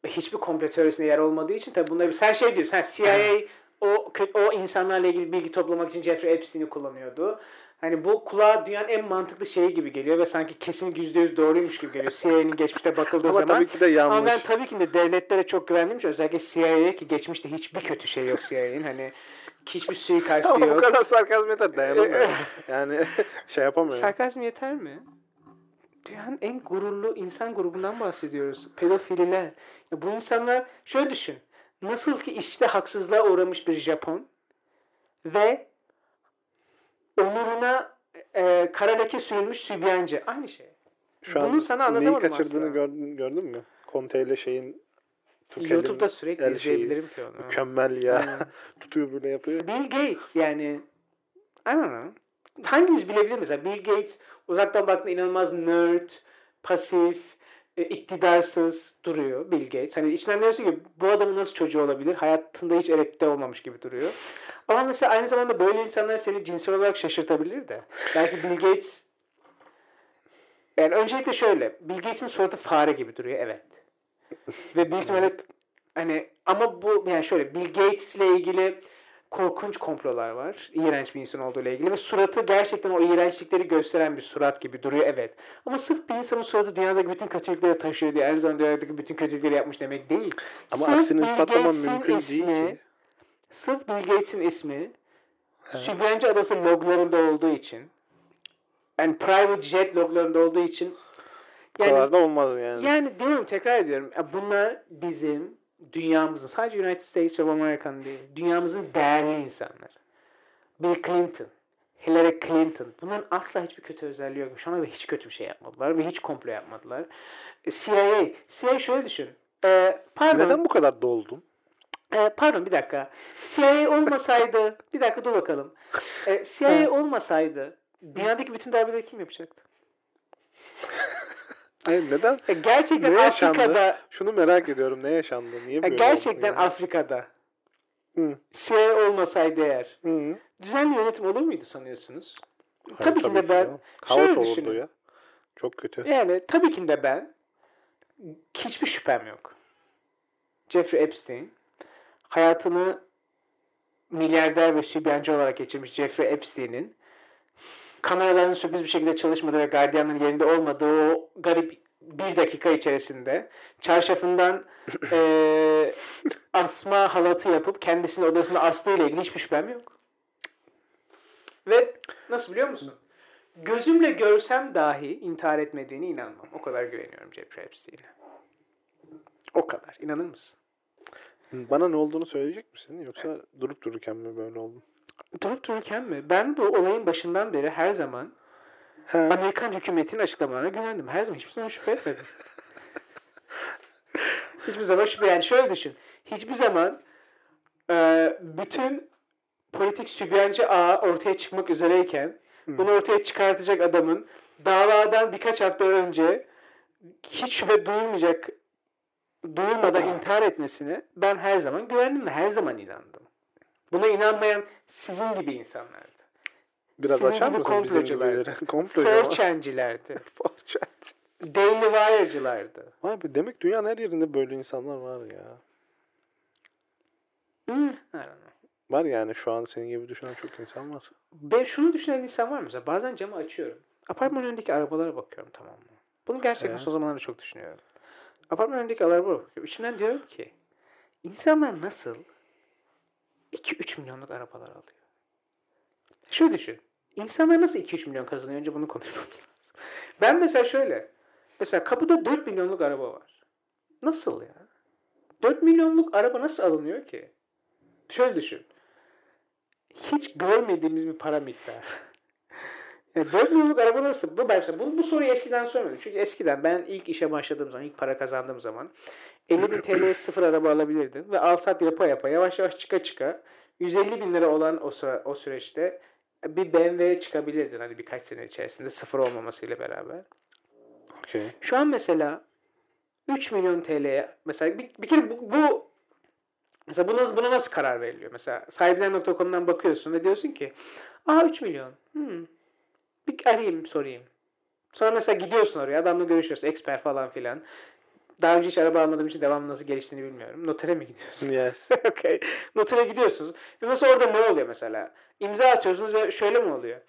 S1: hiçbir komplo teorisine yer olmadığı için tabii bunları sen şey diyorsun. Sen CIA o kö- o insanlarla ilgili bilgi toplamak için Jeffrey Epstein'i kullanıyordu. Hani bu kulağa dünyanın en mantıklı şeyi gibi geliyor ve sanki kesin %100 doğruymuş gibi geliyor. CIA'nin geçmişte bakıldığı
S2: Ama
S1: zaman.
S2: tabii ki de yanlış.
S1: Ama ben tabii ki de devletlere çok güvendiğim için özellikle CIA'ye ki geçmişte hiçbir kötü şey yok CIA'nin. Hani hiçbir suikast
S2: Ama bu
S1: yok.
S2: kadar sarkazm yeter dayanamıyorum. yani şey yapamıyorum.
S1: Sarkazm yeter mi? Dünyanın en gururlu insan grubundan bahsediyoruz. Pedofililer. Ya bu insanlar şöyle düşün. Nasıl ki işte haksızlığa uğramış bir Japon ve onuruna e, kara leke sürülmüş Sübyancı. Aynı şey.
S2: Şu an
S1: Bunu sana
S2: neyi
S1: anlatamadım
S2: kaçırdığını
S1: aslında.
S2: gördün, gördün mü? Conte ile şeyin Tuchel'in
S1: YouTube'da sürekli
S2: el şeyi.
S1: izleyebilirim ki onu.
S2: mükemmel
S1: Aynen.
S2: ya. Tutuyor böyle yapıyor.
S1: Bill Gates yani I don't know. Hangimiz bilebilir mesela Bill Gates uzaktan baktığında inanılmaz nerd, pasif, e, iktidarsız duruyor Bill Gates. Hani içinden diyorsun ki bu adamın nasıl çocuğu olabilir? Hayatında hiç elekte olmamış gibi duruyor. Ama mesela aynı zamanda böyle insanlar seni cinsel olarak şaşırtabilir de. Belki Bill Gates yani öncelikle şöyle. Bill Gates'in suratı fare gibi duruyor. Evet. Ve büyük ihtimalle hani ama bu yani şöyle Bill Gates'le ilgili korkunç komplolar var. İğrenç bir insan olduğuyla ilgili ve suratı gerçekten o iğrençlikleri gösteren bir surat gibi duruyor evet. Ama sırf bir insanın suratı dünyadaki bütün kötülükleri taşıyor diye her zaman dünyadaki bütün kötülükleri yapmış demek değil.
S2: Ama
S1: Sırf
S2: aksini
S1: Bill
S2: ispatlamam
S1: Gates'in
S2: mümkün değil
S1: ismi-
S2: ki.
S1: Sırf Bill Gates'in ismi
S2: He.
S1: Sübyancı Adası loglarında olduğu için yani private jet loglarında olduğu için
S2: Bu kadar da olmaz yani.
S1: yani diyorum tekrar ediyorum. Ya Bunlar bizim dünyamızın sadece United States of America'nın değil. Dünyamızın değerli insanlar. Bill Clinton, Hillary Clinton. Bunların asla hiçbir kötü özelliği yok. Şu ana kadar hiç kötü bir şey yapmadılar ve hiç komplo yapmadılar. E, CIA, CIA şöyle düşün. E, pardon,
S2: Neden bu kadar doldun?
S1: e, pardon bir dakika. CIA olmasaydı, bir dakika dur bakalım. E, CIA
S2: Ha.
S1: olmasaydı dünyadaki bütün darbeleri kim yapacaktı?
S2: Hayır neden?
S1: E, gerçekten
S2: Ne yaşandı?
S1: Afrika'da
S2: Şunu merak ediyorum. Ne yaşandı? Niye
S1: Ya
S2: böyle
S1: gerçekten
S2: oldu yani?
S1: Afrika'da
S2: Hı.
S1: CIA olmasaydı eğer
S2: Hı. Hayır,
S1: düzenli yönetim olur muydu sanıyorsunuz? tabii ki de ben-
S2: ya. Kaos
S1: şöyle
S2: olurdu
S1: düşünün.
S2: ya. Çok kötü.
S1: Yani tabii ki de ben hiçbir şüphem yok. Jeffrey Epstein hayatını milyarder ve sübyancı olarak geçirmiş Jeffrey Epstein'in kameraların sürpriz bir şekilde çalışmadığı ve gardiyanların yerinde olmadığı o garip bir dakika içerisinde çarşafından eee, asma halatı yapıp kendisini odasına astığıyla ilgili hiçbir şüphem yok. Ve nasıl biliyor musun? Gözümle görsem dahi intihar etmediğine inanmam. O kadar güveniyorum Jeffrey Epstein'e. O kadar. İnanır mısın?
S2: Bana ne olduğunu söyleyecek misin? Yoksa durup dururken mi böyle oldun?
S1: Durup dururken mi? Ben bu olayın başından beri her zaman
S2: He.
S1: Amerikan hükümetinin açıklamalarına güvendim. Her zaman hiçbir zaman şüphe etmedim. hiçbir zaman şüphe. Yani şöyle düşün. Hiçbir zaman e, bütün politik sübyancı ağı ortaya çıkmak üzereyken
S2: Hı.
S1: bunu ortaya çıkartacak adamın davadan birkaç hafta önce hiç şüphe duyulmayacak duyulmadan intihar etmesine ben her zaman güvendim ve her zaman inandım. Buna inanmayan sizin gibi insanlardı.
S2: Biraz
S1: Sizin
S2: açar
S1: gibi
S2: mısın bizim
S1: komplocular.
S2: gibileri? Komplocu.
S1: Forçencilerdi.
S2: Forçan.
S1: Daily Wire'cılardı.
S2: Vay be demek dünyanın her yerinde böyle insanlar var ya.
S1: Hmm, I don't know.
S2: Var yani şu an senin gibi düşünen çok insan var.
S1: Ben şunu düşünen insan var mı? Mesela bazen camı açıyorum. Apartman önündeki arabalara bakıyorum tamam mı? Bunu gerçekten
S2: Evet.
S1: son zamanlarda çok düşünüyorum. Apartman önündeki arabalara bakıyorum. İçimden diyorum ki insanlar nasıl 2-3 milyonluk arabalar alıyor? Şöyle düşün. İnsanlar nasıl 2-3 milyon kazanıyor? Önce bunu konuşmamız lazım. Ben mesela şöyle. Mesela kapıda 4 milyonluk araba var. Nasıl ya? 4 milyonluk araba nasıl alınıyor ki? Şöyle düşün. Hiç görmediğimiz bir para miktarı. Yani 4 milyonluk araba nasıl? Bu, ben mesela bu, bu soruyu eskiden sormadım. Çünkü eskiden ben ilk işe başladığım zaman, ilk para kazandığım zaman 50 bin TL'ye sıfır araba alabilirdim. Ve alsat yapa yapa yavaş yavaş çıka çıka 150 bin lira olan o, sıra, o süreçte bir BMW'ye çıkabilirdin hani birkaç sene içerisinde sıfır olmamasıyla beraber.
S2: Okey.
S1: Şu an mesela 3 milyon TL'ye mesela bir, bir kere bu, bu mesela bu nasıl, buna nasıl karar veriliyor? Mesela sahibinden.com'dan bakıyorsun ve diyorsun ki aa 3 milyon. Hmm. Bir arayayım sorayım. Sonra mesela gidiyorsun oraya adamla görüşüyorsun. Expert falan filan. Daha önce hiç araba almadığım için devamlı nasıl geliştiğini bilmiyorum. Notere mi gidiyorsunuz?
S2: Yes.
S1: okay. Notere gidiyorsunuz. Ve mesela orada ne oluyor mesela? İmza atıyorsunuz ve şöyle mi oluyor?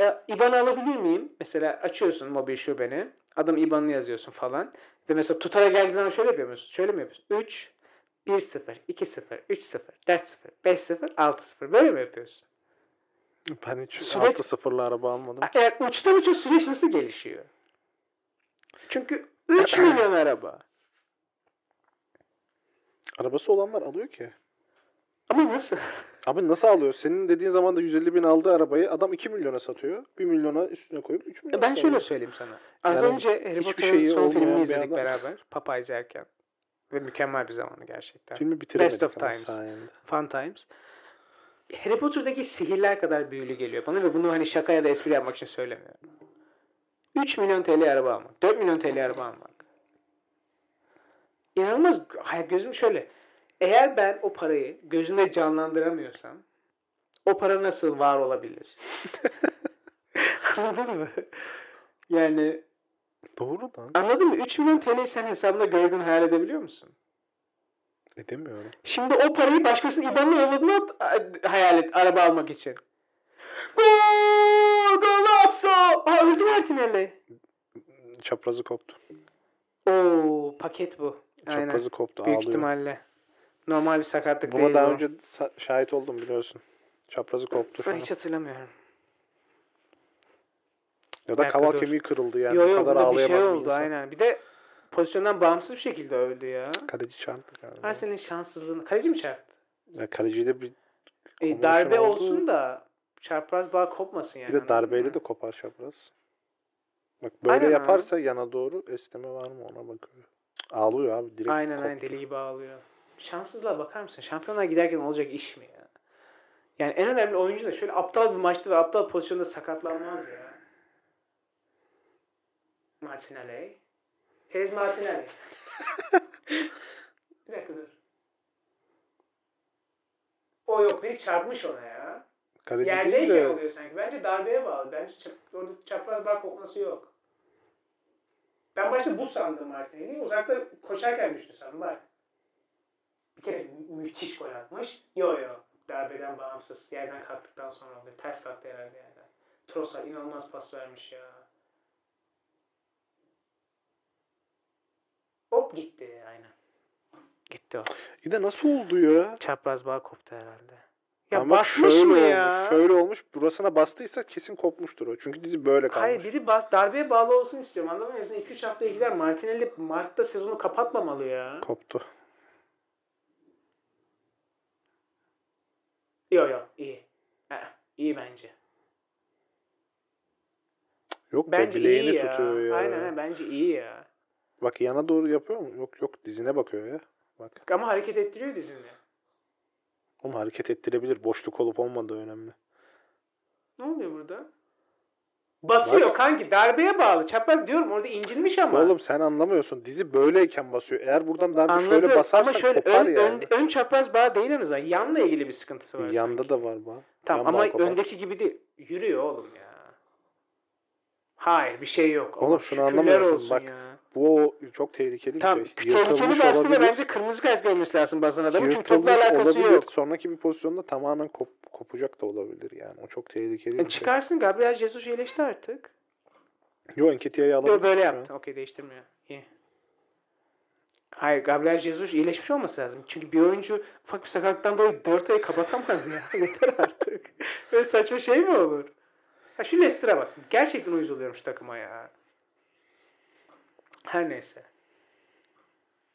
S1: E, IBAN alabilir miyim? Mesela açıyorsun mobil şubeni. Adam IBAN'ını yazıyorsun falan. Ve mesela tutara geldiği zaman şöyle yapıyor musun? Şöyle mi yapıyorsun? 3, 1, 0, 2, 0, 3, 0, 4, 0, 5, 0, 6, 0. Böyle mi yapıyorsun?
S2: Ben hiç
S1: Süreç-
S2: 6-0'lı araba almadım.
S1: Eğer uçtan uca süreç nasıl gelişiyor? Çünkü 3 milyon araba.
S2: Arabası olanlar alıyor ki.
S1: Ama nasıl?
S2: Abi nasıl alıyor? Senin dediğin zaman da 150 bin aldığı arabayı adam 2 milyona satıyor. 1 milyona üstüne koyup 3 milyona
S1: Ben şöyle
S2: satıyor.
S1: söyleyeyim sana. Az
S2: Yani
S1: önce Harry
S2: hiçbir
S1: Potter'ın
S2: şeyi
S1: son
S2: olmayan
S1: filmini
S2: bir
S1: izledik
S2: adam.
S1: beraber. Papa izlerken. Ve mükemmel bir zamandı gerçekten.
S2: Filmi bitiremedik
S1: Best of
S2: ama
S1: Times.
S2: sayende.
S1: Fun Times. Harry Potter'daki sihirler kadar büyülü geliyor bana ve bunu hani şaka ya da espri yapmak için söylemiyorum. 3 milyon TL araba almak, 4 milyon TL araba almak. İnanılmaz. Hayır gözüm şöyle. Eğer ben o parayı gözümde canlandıramıyorsam o para nasıl var olabilir? Anladın mı? Yani
S2: Doğru lan.
S1: anladın mı? 3 milyon TL'yi sen hesabında gördüğünü hayal edebiliyor musun?
S2: Edemiyorum.
S1: Şimdi o parayı başkasının IBAN'ına yolladığını hayal et araba almak için. Gol! Golasso! Aa öldü Martinelli.
S2: Çaprazı koptu.
S1: Oo paket bu. Aynen.
S2: Çaprazı koptu.
S1: Büyük
S2: ağlıyor.
S1: ihtimalle. Normal bir sakatlık
S2: Buna
S1: değil
S2: daha
S1: bu.
S2: önce sa- şahit oldum biliyorsun. Çaprazı koptu şu
S1: Ben
S2: an.
S1: hiç hatırlamıyorum.
S2: Ya da
S1: Dakika
S2: kaval
S1: dur.
S2: kemiği kırıldı yani.
S1: yo
S2: bu
S1: yo
S2: kadar
S1: bunda bir şey
S2: ağlayamaz bir
S1: oldu
S2: insan.
S1: aynen. Bir de pozisyondan bağımsız bir şekilde öldü ya.
S2: Kaleci çarptı galiba.
S1: Arsenal'in şanssızlığını. Kaleci mi çarptı?
S2: Ya kaleciyi de bir,
S1: E,
S2: Konvulsiyon
S1: darbe
S2: oldu.
S1: olsun da çarpraz bağ kopmasın yani.
S2: bir de
S1: anladın
S2: darbeyle
S1: mı?
S2: de kopar çapraz. Bak böyle
S1: Aynen abi.
S2: yaparsa yana doğru esneme var mı ona bakıyor. Ağlıyor abi direkt.
S1: Aynen
S2: koptu.
S1: aynen deli gibi ağlıyor. Şanssızlığa bakar mısın? Şampiyonlar giderken olacak iş mi ya? Yani en önemli oyuncu da şöyle aptal bir maçta ve aptal pozisyonda sakatlanmaz ya. Martinelli. Hez Martinelli. bir dakika dur. O yok biri çarpmış ona ya.
S2: Kaleci değil
S1: Yerdeyken
S2: de
S1: şey oluyor sanki. Bence darbeye bağlı. Bence çap- orada çapraz bağ kopması yok. Ben başta bu sandım Martinelli'yi. Uzakta koşarken düştü sandım. Bak. Bir kere mü- müthiş gol atmış. Yo yo. Darbeden bağımsız. Yerden kalktıktan sonra oluyor. Ters kalktı herhalde yerden. Trossard inanılmaz pas vermiş ya. Hop gitti aynen. Gitti o.
S2: bir de nasıl oldu ya?
S1: Çapraz bağ koptu herhalde. Ya
S2: Ama
S1: basmış
S2: şöyle
S1: mı
S2: olmuş,
S1: ya?
S2: Şöyle olmuş. Burasına bastıysa kesin kopmuştur o. Çünkü dizi böyle kalmış.
S1: Hayır biri bas, darbeye bağlı olsun istiyorum. Anladın mı? En azından 2-3 haftaya gider. Martinelli Mart'ta sezonu kapatmamalı ya.
S2: Koptu.
S1: Yok yok iyi. Ha, iyi bence.
S2: Yok be
S1: Bence
S2: bileğini
S1: iyi ya.
S2: tutuyor ya.
S1: Aynen aynen, bence iyi ya.
S2: Bak yana doğru yapıyor mu? Yok yok dizine bakıyor ya. Bak.
S1: Ama hareket ettiriyor dizini.
S2: Oğlum hareket ettirebilir. Boşluk olup olmadığı önemli.
S1: Ne oluyor burada? Basıyor
S2: Bak.
S1: kanki. Darbeye bağlı. Çapraz diyorum orada incinmiş ama.
S2: Oğlum sen anlamıyorsun. Dizi böyleyken basıyor. Eğer buradan daha bir
S1: Anladım.
S2: şöyle basarsan
S1: ama şöyle
S2: kopar
S1: ön,
S2: yani.
S1: ön, ön çapraz bağ değil en azından. Yanla ilgili bir sıkıntısı var.
S2: Yanda
S1: sanki.
S2: da var bak.
S1: Tamam
S2: yan bağ
S1: ama
S2: kopar.
S1: öndeki gibi değil. Yürüyor oğlum ya. Hayır bir şey yok.
S2: Oğlum
S1: Ama
S2: şunu
S1: şükürler
S2: anlamıyorsun,
S1: olsun
S2: bak.
S1: ya.
S2: Bu o çok tehlikeli
S1: Tamam.
S2: bir şey.
S1: Tehlikeli
S2: Yırtılmış
S1: de aslında
S2: olabilir.
S1: bence kırmızı kart görmesi lazım bazen adamın. Çünkü topla
S2: Yırtılmış
S1: alakası
S2: olabilir.
S1: yok.
S2: Sonraki bir pozisyonda tamamen kop- kopacak da olabilir yani. O çok tehlikeli
S1: E,
S2: bir şey.
S1: çıkarsın Gabriel Jesus iyileşti artık.
S2: Yo Enketia'yı alabilir.
S1: Yo, böyle
S2: şu an.
S1: yaptı. Okey değiştirmiyor. İyi. Hayır Gabriel Jesus iyileşmiş olması lazım. Çünkü bir oyuncu ufak bir sakatlıktan dolayı 4 ay kapatamaz ya. Yeter artık. Böyle saçma şey mi olur? Ha şu Leicester'a bak. Gerçekten uyuz oluyorum şu takıma ya. Her neyse.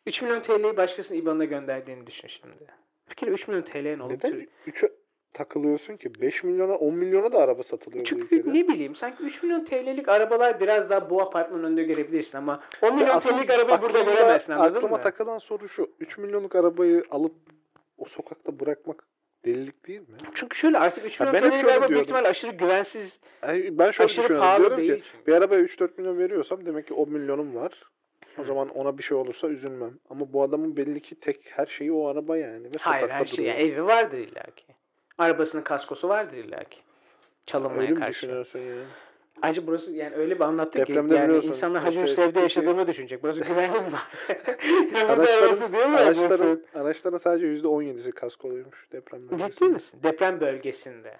S1: 3 milyon TL'yi başkasının IBAN'ına gönderdiğini düşün şimdi. Bir kere 3 milyon TL'nin olup
S2: Neden 3'e takılıyorsun ki? 5 milyona 10 milyona da araba satılıyor bu
S1: Çünkü
S2: ülkede.
S1: ne bileyim sanki 3 milyon TL'lik arabalar biraz daha bu apartmanın önünde görebilirsin ama 10
S2: Ya
S1: milyon
S2: asıl
S1: TL'lik arabayı burada
S2: aklımda-
S1: göremezsin anladın
S2: aklıma
S1: mı?
S2: takılan soru şu. 3 milyonluk arabayı alıp o sokakta bırakmak Delilik değil mi?
S1: Çünkü şöyle artık 3
S2: Ha,
S1: milyon
S2: ben hep
S1: TL'ye
S2: şöyle
S1: galiba büyük
S2: diyordum.
S1: ihtimalle aşırı güvensiz,
S2: Yani ben şöyle
S1: aşırı
S2: düşünüyorum. Diyorum
S1: pahalı
S2: ki
S1: değil. çünkü.
S2: bir arabaya 3-4 milyon veriyorsam demek ki 10 milyonum var. O zaman ona bir şey olursa üzülmem. Ama bu adamın belli ki tek her şeyi o araba yani. Ve
S1: Hayır
S2: sokakta
S1: her şey.
S2: duruyor.
S1: Yani evi vardır illaki. Arabasının kaskosu vardır illaki. Çalınmaya
S2: Öyle mi
S1: karşı.
S2: düşünüyorsun yani?
S1: Ayrıca burası yani öyle bir anlattı ki
S2: Depremde
S1: yani
S2: biliyorsun,
S1: insanlar Hacı
S2: işte
S1: Hüsrev'de
S2: Türkiye-
S1: yaşadığımı düşünecek. Burası güvenli mi? ya burada arabası değil
S2: Araçların,
S1: mi? Burası?
S2: araçların, araçların sadece %17'si kaskoluymuş depremde.
S1: Ciddi misin? Deprem bölgesinde.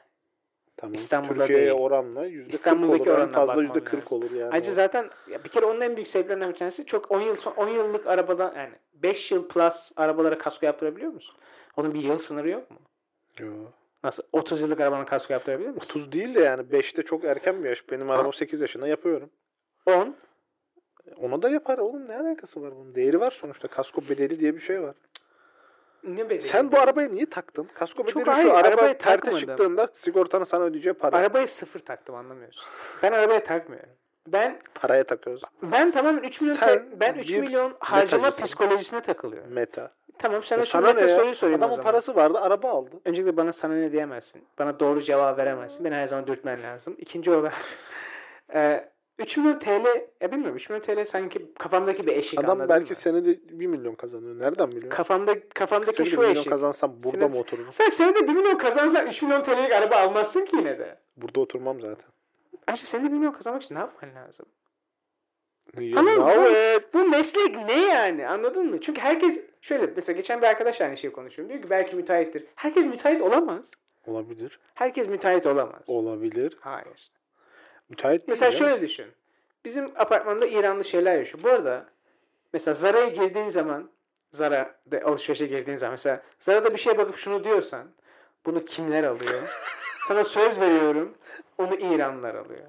S2: Tamam.
S1: İstanbul'da
S2: Türkiye'ye
S1: değil.
S2: oranla %40
S1: İstanbul'daki
S2: olur. En
S1: oranına
S2: fazla
S1: bakmam
S2: %40
S1: lazım.
S2: olur yani.
S1: Ayrıca
S2: o.
S1: zaten ya bir kere onun en büyük sebeplerinden bir tanesi çok 10 yıl son- 10 yıllık arabadan yani 5 yıl plus arabalara kasko yaptırabiliyor musun? Onun bir yıl sınırı yok mu?
S2: Yo.
S1: Nasıl? 30 yıllık arabanın kasko yaptırabilir misin?
S2: 30 değil de yani 5'te çok erken bir yaş. Benim arabam 8 yaşında yapıyorum. E,
S1: 10.
S2: Ona da yapar oğlum ne alakası var bunun? Değeri var sonuçta. Kasko bedeli diye bir şey var.
S1: Ne bedeli?
S2: Sen bu arabaya niye taktın? Kasko
S1: Çok
S2: bedeli
S1: hayır,
S2: şu araba
S1: arabaya
S2: terte
S1: takmadım.
S2: çıktığında sigortanın sana ödeyeceği para.
S1: Arabaya sıfır taktım anlamıyorsun. Ben arabaya takmıyorum. Ben
S2: Paraya takıyoruz.
S1: ben tamamen 3 milyon
S2: Sen
S1: ta- ben 3
S2: bir
S1: milyon harcama
S2: metacısın.
S1: psikolojisine takılıyorum.
S2: Meta.
S1: Tamam sana
S2: Ya
S1: şu
S2: E sana ne
S1: meta
S2: ya?
S1: soruyu sorayım o
S2: Adamın
S1: zaman.
S2: parası vardı araba aldı.
S1: Öncelikle bana sana ne diyemezsin. Bana doğru cevap veremezsin. Beni her zaman dürtmen lazım. İkinci olarak e, 3 milyon TL ya bilmiyorum 3 milyon TL sanki kafamdaki bir eşik
S2: Adam
S1: anladın
S2: belki
S1: mı?
S2: senede 1 milyon kazanıyor. Nereden biliyor?
S1: Kafamda, kafamdaki
S2: senede
S1: şu
S2: 1 milyon
S1: eşik.
S2: kazansam burada
S1: Senin-
S2: mı otururum?
S1: Sen senede 1 milyon kazansan 3 milyon TL'lik araba almazsın ki yine de.
S2: Burada oturmam zaten.
S1: Ayrıca senede 1 milyon kazanmak için ne yapman lazım?
S2: You
S1: Anladın mı?
S2: know it.
S1: Bu meslek ne yani anladın mı? Çünkü herkes şöyle mesela geçen bir arkadaş aynı şeyi konuşuyorum. Diyor ki belki müteahhittir. Herkes müteahhit olamaz.
S2: Olabilir.
S1: Herkes müteahhit olamaz.
S2: Olabilir.
S1: Hayır.
S2: Müteahhit değil
S1: Mesela
S2: ya.
S1: şöyle düşün. Bizim apartmanda İranlı şeyler yaşıyor. Bu arada mesela Zara'ya girdiğin zaman Zara'da alışverişe girdiğin zaman mesela Zara'da bir şeye bakıp şunu diyorsan bunu kimler alıyor? Sana söz veriyorum onu İranlılar alıyor.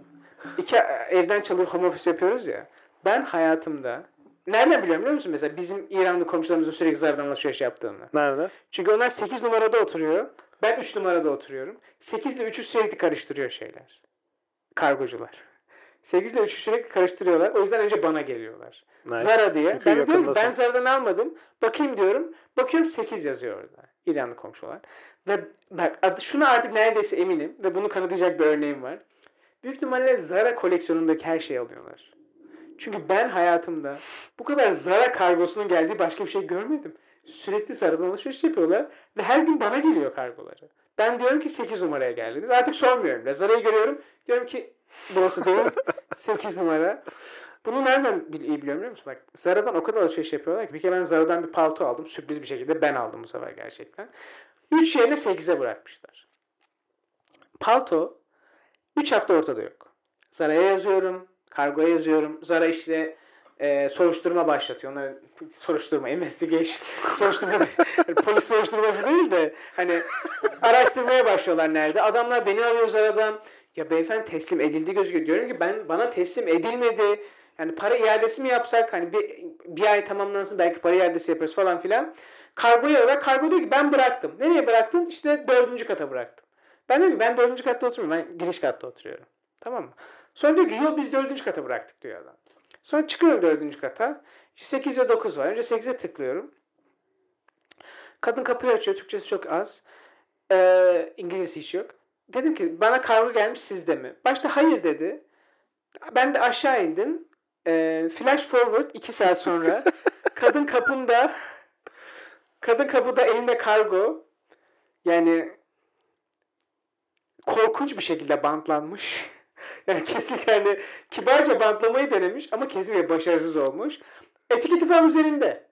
S1: İki evden çalışıp home office yapıyoruz ya. Ben hayatımda nereden biliyorum biliyor musun? Mesela bizim İranlı komşularımızın sürekli Zara'dan alışveriş yaptığını.
S2: Nerede?
S1: Çünkü onlar 8 numarada oturuyor. Ben 3 numarada oturuyorum. 8 ile 3'ü sürekli karıştırıyor şeyler. Kargocular. 8 ile 3'ü sürekli karıştırıyorlar. O yüzden önce bana geliyorlar.
S2: Nice.
S1: Zara diye.
S2: Çünkü
S1: ben de diyorum ki, ben
S2: yakındasın.
S1: Zara'dan almadım. Bakayım diyorum. Bakıyorum 8 yazıyor orada. İranlı komşular. Ve bak ad- şuna artık neredeyse eminim ve bunu kanıtlayacak bir örneğim var. Büyük ihtimalle Zara koleksiyonundaki her şeyi alıyorlar. Çünkü ben hayatımda bu kadar Zara kargosunun geldiği başka bir şey görmedim. Sürekli Zara'dan alışveriş yapıyorlar ve her gün bana geliyor kargoları. Ben diyorum ki 8 numaraya geldiniz. Artık sormuyorum bile. Zara'yı görüyorum. Diyorum ki burası değil. 8 numara. Bunu nereden bil- iyi biliyorum biliyor musun? Bak Zara'dan o kadar alışveriş yapıyorlar ki bir kere ben Zara'dan bir palto aldım. Sürpriz bir şekilde ben aldım bu sefer gerçekten. 3 yerine 8'e bırakmışlar. Palto 3 hafta ortada yok. Zara'ya yazıyorum. Kargoya yazıyorum. Zara işte e, soruşturma başlatıyor. Onlara soruşturma, investigation, soruşturma, polis soruşturması değil de hani araştırmaya başlıyorlar nerede. Adamlar beni arıyor Zara'dan. Ya beyefendi teslim edildi gözüküyor. Diyorum ki ben bana teslim edilmedi. Yani para iadesi mi yapsak? Hani bir, bir ay tamamlansın belki para iadesi yaparız falan filan. Kargoya ara. Kargo diyor ki ben bıraktım. Nereye bıraktın? İşte dördüncü kata bıraktım. Ben diyorum ki ben dördüncü katta oturmuyorum. Ben giriş katta oturuyorum. Tamam mı? Sonra diyor ki yok biz dördüncü kata bıraktık diyor adam. Sonra çıkıyorum dördüncü kata. 8 ve 9 var. Önce 8'e tıklıyorum. Kadın kapıyı açıyor. Türkçesi çok az. Ee, İngilizcesi hiç yok. Dedim ki bana kargo gelmiş sizde mi? Başta hayır dedi. Ben de aşağı indim. Ee, flash forward 2 saat sonra kadın kapında kadın kapıda elinde kargo yani korkunç bir şekilde bantlanmış. Yani kesin yani kibarca bantlamayı denemiş ama kesinlikle başarısız olmuş. Etiketi falan üzerinde.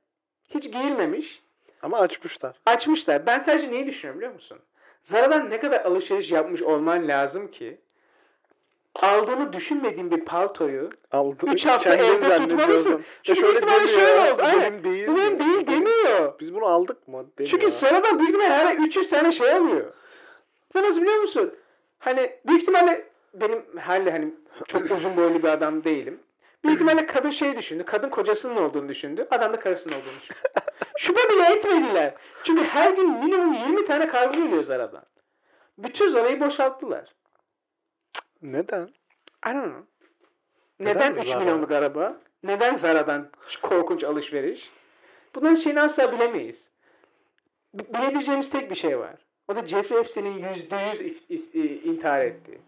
S1: Hiç giyilmemiş.
S2: Ama açmışlar.
S1: Açmışlar. Ben sadece neyi düşünüyorum biliyor musun? Zara'dan ne kadar alışveriş yapmış olman lazım ki aldığını düşünmediğin bir paltoyu
S2: Aldı.
S1: Üç hafta
S2: kendin
S1: evde
S2: zannediyorsun.
S1: tutmalısın.
S2: Ya
S1: Çünkü
S2: şöyle
S1: büyük ihtimalle
S2: demiyor
S1: şöyle
S2: ya,
S1: oldu,
S2: bu
S1: aynen.
S2: benim değil.
S1: bu benim değil demiyor.
S2: Biz bunu aldık mı? Demiyor.
S1: Çünkü Zara'dan büyük ihtimalle her ay 300 tane şey alıyor. Ve nasıl biliyor musun? Hani büyük ihtimalle benim herhalde hani çok uzun boylu bir adam değilim. Büyük ihtimalle kadın şey düşündü. Kadın kocasının olduğunu düşündü. Adam da karısının olduğunu düşündü. Şüphe bile etmediler. Çünkü her gün minimum 20 tane kargo geliyor Zara'dan. Bütün Zara'yı boşalttılar.
S2: Neden?
S1: I don't know.
S2: Neden
S1: Neden, 3
S2: Zara?
S1: milyonluk araba? Neden Zara'dan şu korkunç alışveriş? Bunların şeyini asla bilemeyiz. B- Bilebileceğimiz tek bir şey var. O da Jeffrey Epstein'in %100 if- is- i- intihar ettiği.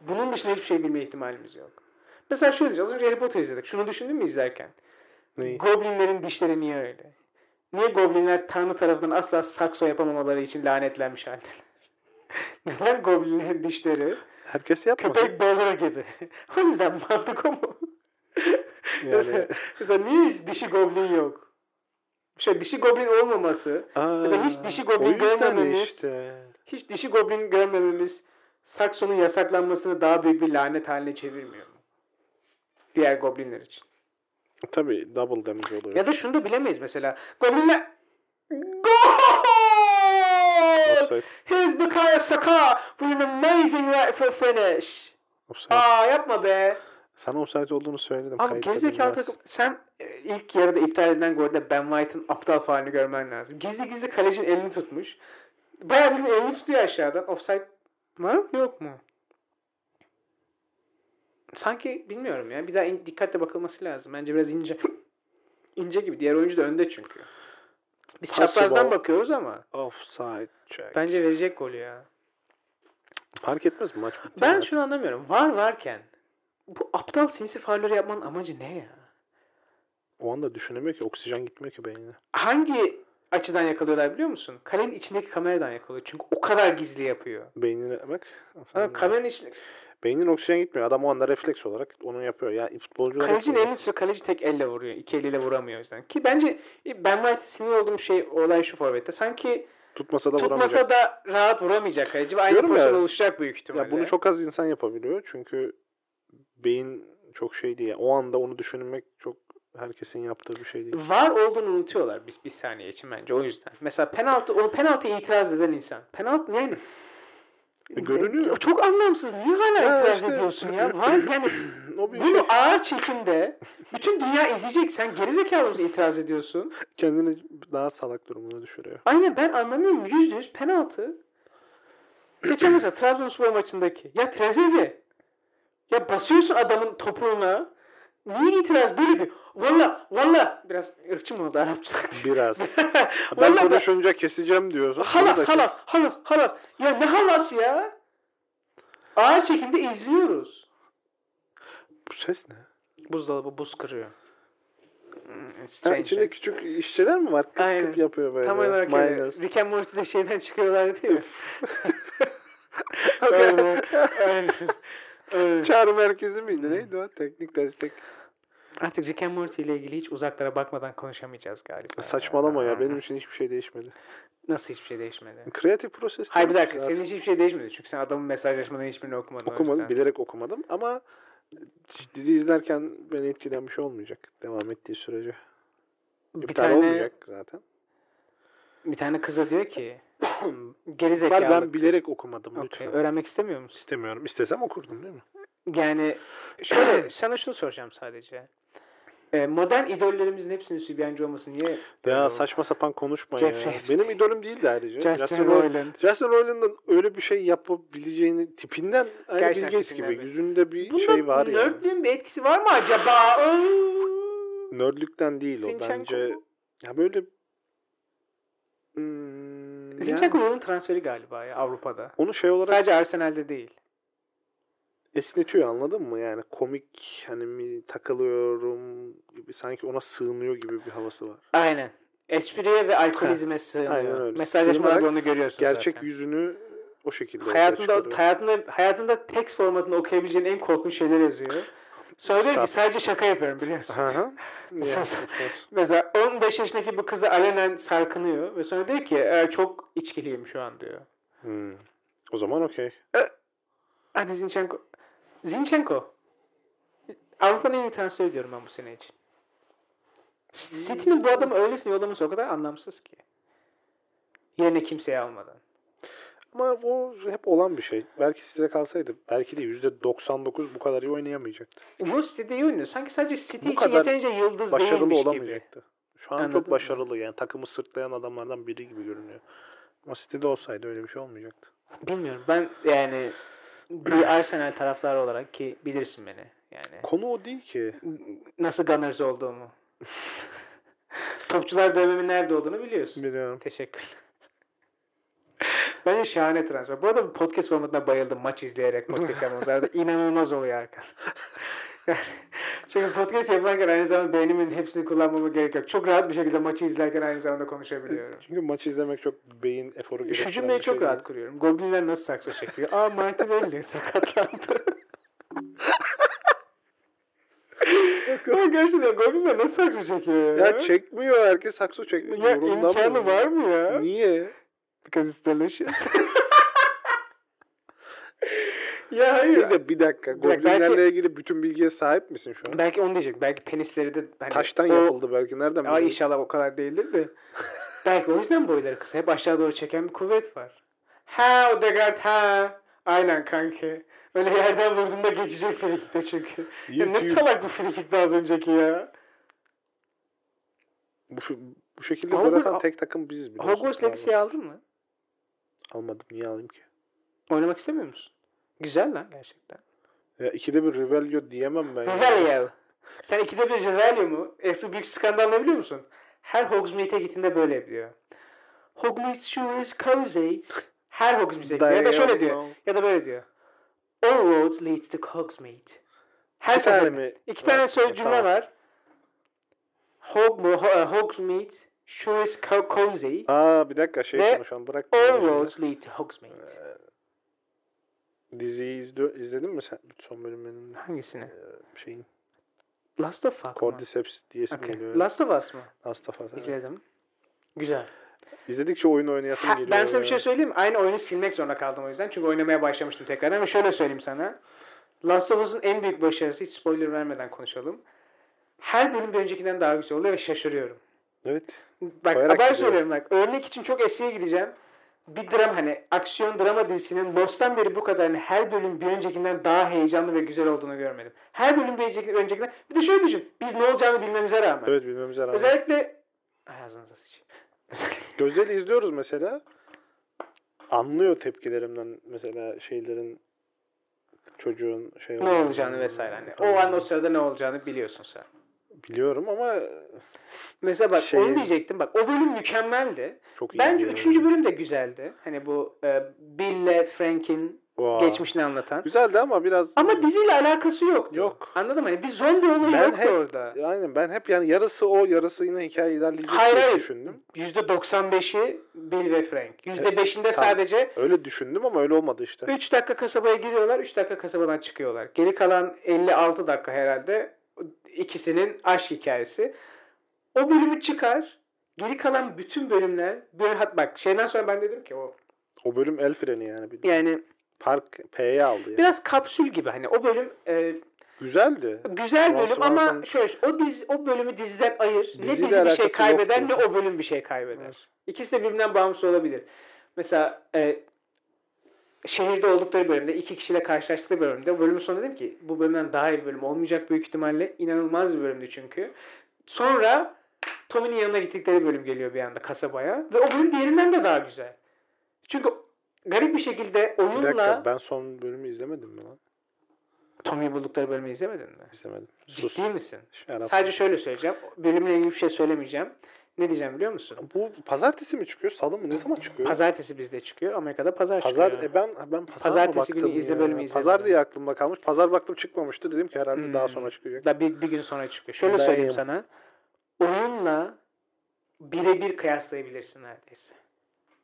S1: Bunun dışında hiçbir şey bilme ihtimalimiz yok. Mesela şöyle diyeceğiz. Az önce Harry Potter izledik. Şunu düşündün mü izlerken?
S2: Neyi?
S1: Goblinlerin dişleri niye öyle? Niye goblinler tanrı tarafından asla sakso yapamamaları için lanetlenmiş halde? Neden goblinlerin dişleri?
S2: Herkes yapmasın.
S1: Köpek balığı gibi. O yüzden mantık o mu?
S2: Yani.
S1: Mesela niye hiç dişi goblin yok? Şey dişi goblin olmaması,
S2: Aa,
S1: da hiç dişi goblin
S2: o yüzden
S1: görmememiz-
S2: Işte.
S1: hiç dişi goblin görmememiz Sakson'un yasaklanmasını daha büyük bir lanet haline çevirmiyor mu? Diğer goblinler için.
S2: Tabii double damage oluyor.
S1: Ya da şunu da bilemeyiz mesela. Goblinler... Gol!
S2: Offside.
S1: Here's Bukayo Saka with an amazing right foot finish.
S2: Offside.
S1: Aa yapma be.
S2: Sana offside olduğunu söyledim.
S1: Abi
S2: kayıtta
S1: gerizekalı
S2: dinlersin.
S1: takım sen e, ilk yarıda iptal edilen golde Ben White'ın aptal faalini görmen lazım. Gizli gizli kalecinin elini tutmuş. Bayağı bildiğin elini tutuyor aşağıdan. Offside var mı yok mu? Sanki bilmiyorum ya. Bir daha in- dikkatle bakılması lazım. Bence biraz ince. ince gibi. Diğer oyuncu da önde çünkü. Biz
S2: Possible.
S1: çaprazdan bakıyoruz ama
S2: Offside check.
S1: bence verecek golü ya.
S2: Fark etmez mi maç bitti?
S1: Ben
S2: ya.
S1: şunu anlamıyorum. Var varken bu aptal sinsi faulleri yapmanın amacı ne ya?
S2: O anda düşünemiyor ki. Oksijen gitmiyor ki beynine.
S1: hangi açıdan yakalıyorlar biliyor musun? Kalenin içindeki kameradan yakalıyor. Çünkü o kadar gizli yapıyor.
S2: Beynine bak.
S1: Adam kalenin içinde
S2: Beynin oksijen gitmiyor. Adam o anda refleks olarak onu yapıyor. Ya futbolcular
S1: kalecinin
S2: yapıyor.
S1: elini tutuyor. Kaleci tek elle vuruyor. İki eliyle vuramıyor o yüzden. Ki bence e, Ben White'e sinir olduğum şey olay şu forvette. Sanki
S2: tutmasa da vuramayacak.
S1: tutmasa da rahat vuramayacak kaleci. ve Aynı
S2: Diyorum ya,
S1: pozisyon oluşacak büyük ihtimalle.
S2: Ya bunu çok az insan yapabiliyor. Çünkü beyin çok şey değil. O anda onu düşünmek çok herkesin yaptığı bir şey değil.
S1: var olduğunu unutuyorlar biz bir saniye için bence o yüzden. Mesela penaltı o penaltıya itiraz eden insan. Penaltı yani
S2: E, görünüyor.
S1: çok anlamsız. Niye hala
S2: Ya
S1: itiraz
S2: işte-
S1: ediyorsun ya? Var yani
S2: o bir şey.
S1: Bunu ağır çekimde bütün dünya izleyecek. Sen gerizekalı mısın itiraz ediyorsun?
S2: Kendini daha salak durumuna düşürüyor.
S1: Aynen ben anlamıyorum. Yüzde yüz penaltı. Geçen mesela Trabzonspor maçındaki. Ya Trezege. Ya basıyorsun adamın topuğuna. Niye itiraz? Böyle bir valla valla biraz ırkçı mı oldu Arapça diye.
S2: Biraz. ben
S1: Valla ben-
S2: konuşunca keseceğim diyorsun.
S1: halas
S2: Sonra da
S1: halas halas halas. Ya ne halas ya? Ağır çekimde izliyoruz.
S2: kes- Bu ses ne?
S1: Buzdolabı buz kırıyor. Hmm,
S2: Ha, içinde küçük işçiler mi var? Kıt
S1: şey. Aynen.
S2: kıt yapıyor böyle.
S1: Tam olarak öyle.
S2: Miners.
S1: Rick and Morty'de şeyden çıkıyorlar değil mi?
S2: Öyle.
S1: Öyle. Öyle.
S2: Çağrı merkezi
S1: Hmm.
S2: miydi? Neydi o? Teknik destek.
S1: Artık Rick and Morty ile ilgili hiç uzaklara bakmadan konuşamayacağız galiba.
S2: Saçmalama ya.
S1: hmm.
S2: Benim için hiçbir şey değişmedi.
S1: Nasıl hiçbir şey değişmedi?
S2: Kreatif proses.
S1: Hayır bir
S2: değil mi?
S1: dakika senin için hiçbir şey değişmedi. Çünkü sen adamın mesajlaşmadan hiçbirini okumadın. o
S2: Okumadım,
S1: yüzden.
S2: bilerek okumadım ama dizi izlerken beni etkilen bir şey olmayacak devam ettiği sürece.
S1: Bir
S2: İptal
S1: tane,
S2: olmayacak zaten.
S1: bir tane kıza diyor ki geri
S2: ben,
S1: zekalı.
S2: ben bilerek okumadım lütfen.
S1: Öğrenmek istemiyor musun?
S2: İstemiyorum. İstesem okurdum değil mi?
S1: Yani şöyle sana şunu soracağım sadece. Ee, modern idollerimizin hepsinin sübyancı olması niye?
S2: Ya
S1: Öyle oldu?
S2: saçma sapan konuşma
S1: Jeff
S2: ya.
S1: Epstein.
S2: Benim idolüm değildi ayrıca.
S1: şey Justin
S2: Justin Roiland.
S1: Roiland.
S2: Justin Roiland'ın öyle bir şey yapabileceğini tipinden aynı
S1: Gerçekten
S2: Bill Gates gibi.
S1: tipinden bir-
S2: Yüzünde bir
S1: Bunda
S2: şey var ya. Yani.
S1: nerdlüğün bir etkisi var mı acaba?
S2: Nerdlükten değil o
S1: Zinchenko
S2: bence.
S1: mu?
S2: Ya böyle Hmm, yani
S1: Zinchenko'nun transferi galiba ya Avrupa'da.
S2: onu şey olarak
S1: Sadece Arsenal'de değil.
S2: esnetiyor anladın mı? Yani komik hani mi takılıyorum gibi sanki ona sığınıyor gibi bir havası var.
S1: Aynen. Espriye ve alkolizme sığınıyor.
S2: aynen öyle.
S1: Mesajlaşmalarda
S2: Sığınarak
S1: onu görüyorsun
S2: Gerçek
S1: zaten.
S2: yüzünü o şekilde ortaya
S1: Hayatında,
S2: çıkarıyor.
S1: hayatında, hayatında text formatında okuyabileceğin en korkunç şeyler yazıyor. Sonra diyor ki
S2: Stop.
S1: sadece şaka yapıyorum biliyorsun.
S2: Hı hı.
S1: Sen-
S2: Yes, of course.
S1: Mesela 15 yaşındaki bir kızı alenen sarkınıyor ve sonra diyor ki "Ee, çok içkiliyim şu an diyor.
S2: Hmm. O zaman okey.
S1: Hadi Zinchenko. Zinchenko. Avrupa'nın en iyi transferi diyorum ben bu sene için. C-
S2: Hmm.
S1: City'nin bu adamı öylesine yollaması o kadar anlamsız ki. Yerine kimseyi almadan.
S2: Ama o hep olan bir şey. Belki size kalsaydı belki de %99 bu kadar iyi oynayamayacaktı.
S1: Yo City'de iyi oynuyor. Sanki sadece City
S2: Bu
S1: için
S2: kadar
S1: yeterince yıldız
S2: Başarılı
S1: değilmiş gibi.
S2: olamayacaktı. Şu an
S1: Anladın
S2: çok
S1: mı?
S2: başarılı yani takımı sırtlayan adamlardan biri gibi görünüyor. Ama City'de olsaydı öyle bir şey olmayacaktı.
S1: Bilmiyorum. Ben yani bir Arsenal taraftarı olarak ki bilirsin beni. Yani
S2: Konu o değil ki.
S1: nasıl Gunners olduğumu. Topçular dövmemin nerede olduğunu biliyorsun.
S2: Biliyorum.
S1: Teşekkür. Bence şahane transfer. Bu arada podcast formatına bayıldım. Maç izleyerek podcast yapmamız arada inanılmaz oluyor arkadaşlar. Yani, çünkü podcast yaparken aynı zamanda beynimin hepsini kullanmama gerek yok. Çok rahat bir şekilde maçı izlerken aynı zamanda konuşabiliyorum.
S2: Çünkü maç izlemek çok beyin eforu
S1: Şu
S2: gerektiren
S1: cümleyi
S2: bir
S1: çok
S2: şey
S1: rahat kuruyorum. Goblinler nasıl sakso çekiyor? Aa Martinelli sakatlandı. Ama gerçekten Goblinler nasıl sakso çekiyor
S2: değil.
S1: ya?
S2: Ya çekmiyor herkes sakso çekmiyor.
S1: Ya
S2: Yorumdan
S1: imkanı
S2: mı?
S1: var mı ya?
S2: Niye?
S1: Because it's delicious. ya hayır.
S2: Bir de bir
S1: Bir
S2: dakika.
S1: dakika, belki-
S2: Goblinlerle ilgili bütün bilgiye sahip misin şu an?
S1: Belki onu diyecek. Belki penisleri de hani
S2: Taştan
S1: o-
S2: yapıldı belki. Nereden
S1: Ama
S2: biliyorsun?
S1: inşallah o kadar değildir de. Belki o yüzden boyları kısa. Hep aşağı doğru çeken bir kuvvet var. Ha o Degard ha. Aynen kanki. Öyle yerden vurduğunda geçecek frikikte çünkü. Ya ne
S2: YouTube-
S1: salak bu frikikte az önceki ya.
S2: Bu, şu- bu şekilde
S1: Hogwarts-
S2: gol atan tek takım biziz. biliyorsun.
S1: Hogwarts Legacy'yi aldın mı?
S2: Almadım. Niye alayım ki?
S1: Oynamak istemiyor musun? Güzel lan gerçekten.
S2: Ya ikide bir Revelio diyemem ben. ya.
S1: Revelio. Sen ikide bir Revelio mu? Asıl büyük skandal ne biliyor musun? Her Hogsmeade'e gittiğinde böyle yapıyor. Hogsmeade sure is cozy. Her Hogsmeade'e gidiyor. Ya da şöyle
S2: Damn,
S1: diyor.
S2: no.
S1: Ya da böyle diyor. All roads leads to Hogsmeade. Her
S2: Bir tane
S1: seferinde.
S2: mi?
S1: İki tane
S2: var?
S1: söz
S2: Ya,
S1: cümle
S2: tamam.
S1: var. Hog, mo- ho- e, Hogsmeade sure is co- cozy.
S2: Aa bir dakika şey
S1: Ve
S2: konuşalım bırak.
S1: All
S2: bunu.
S1: roads lead to Hogsmeade.
S2: Diziyi izle, izledin mi sen son bölümünün
S1: Hangisini?
S2: şeyin?
S1: Last of Us mı?
S2: Cordyceps diyesim
S1: Okay.
S2: geliyor.
S1: Last of Us mı?
S2: Last of Us, evet.
S1: İzledim. Güzel.
S2: İzledikçe oyun oynayasım
S1: Ha,
S2: geliyor.
S1: ben sana
S2: ya.
S1: bir şey söyleyeyim mi? Aynı oyunu silmek zorunda kaldım o yüzden. Çünkü oynamaya başlamıştım tekrardan. Ama şöyle söyleyeyim sana. Last of Us'ın en büyük başarısı, hiç spoiler vermeden konuşalım. Her bölüm bir öncekinden daha güzel oluyor ve şaşırıyorum.
S2: Evet.
S1: Bak
S2: Koyarak
S1: haber
S2: gidiyor.
S1: söylüyorum bak. Örnek için çok eskiye gideceğim. Bir dram hani aksiyon drama dizisinin Lost'tan beri bu kadar hani her bölüm bir öncekinden daha heyecanlı ve güzel olduğunu görmedim. Her bölüm bir önceki- öncekinden. Bir de şöyle düşün. Biz ne olacağını bilmemize rağmen.
S2: Evet bilmemize rağmen.
S1: Özellikle Ay, ağzınıza sıçayım. Özellikle-
S2: Gözleri izliyoruz mesela. Anlıyor tepkilerimden mesela şeylerin çocuğun şey
S1: ne olacağını vesaire hani. O an o sırada ne olacağını biliyorsun sen.
S2: biliyorum ama
S1: Mesela bak
S2: Şey-
S1: onu diyecektim. Bak o bölüm mükemmeldi.
S2: çok iyi.
S1: Bence
S2: bir-
S1: üçüncü bölüm de güzeldi. Hani bu e, Bill'le Frank'in
S2: Vaa.
S1: geçmişini anlatan.
S2: Güzeldi ama biraz
S1: Ama diziyle alakası yoktu.
S2: Yok.
S1: Anladın mı? Hani bir zombi olayı
S2: Ben
S1: yoktu
S2: hep-
S1: orada.
S2: Aynen ben hep yani yarısı o yarısı yine hikaye ilerleyecek
S1: Hayır,
S2: diye
S1: hayır.
S2: düşündüm.
S1: %95'i Bill ve Frank. %5'inde sadece
S2: Öyle düşündüm ama öyle olmadı işte.
S1: 3 dakika kasabaya giriyorlar, 3 dakika kasabadan çıkıyorlar. Geri kalan 56 dakika herhalde ikisinin aşk hikayesi. O bölümü çıkar. Geri kalan bütün bölümler bir hat bak şeyden sonra ben dedim ki o
S2: O bölüm el freni yani. Bir de.
S1: yani
S2: Park P'ye aldı yani.
S1: biraz kapsül gibi hani o bölüm e,
S2: Güzeldi.
S1: güzel
S2: Ondan
S1: bölüm
S2: sonra sen-
S1: ama şöyle o dizi o bölümü diziden ayır. Ne
S2: Diziyle
S1: dizi bir şey
S2: alakası
S1: kaybeder
S2: yoktu.
S1: ne o bölüm bir şey kaybeder.
S2: Evet.
S1: İkisi de birbirinden bağımsız olabilir. Mesela e, şehirde oldukları bölümde iki kişiyle karşılaştıkları bölümde bölümün sonunda dedim ki bu bölümden daha iyi bir bölüm olmayacak büyük ihtimalle. inanılmaz bir bölümdü çünkü. Sonra Tommy'nin yanına gittikleri bölüm geliyor bir anda kasabaya ve o bölüm diğerinden de daha güzel. Çünkü garip bir şekilde
S2: Bir
S1: oyunla
S2: dakika ben son bölümü izlemedim mi lan?
S1: Tommy'yi buldukları bölümü izlemedin mi?
S2: İzlemedim. Sus.
S1: Ciddi misin?
S2: Arap-
S1: Sadece şöyle söyleyeceğim. Bölümle ilgili bir şey söylemeyeceğim. Ne diyeceğim biliyor musun?
S2: Bu pazartesi mi çıkıyor? Salı mı? Ne zaman çıkıyor?
S1: Pazartesi bizde çıkıyor. Amerika'da pazar,
S2: Pazar
S1: çıkıyor.
S2: e ben ben pazar
S1: Pazartesi
S2: mı baktım
S1: günü izle
S2: ya?
S1: bölümü izledim
S2: Pazar
S1: ben.
S2: diye aklımda kalmış. Pazar baktım çıkmamıştı. Dedim ki herhalde
S1: Hmm.
S2: daha sonra çıkacak.
S1: Da bir, bir gün sonra çıkıyor. Şöyle
S2: e, Ben-
S1: söyleyeyim sana. Oyunla birebir kıyaslayabilirsin neredeyse.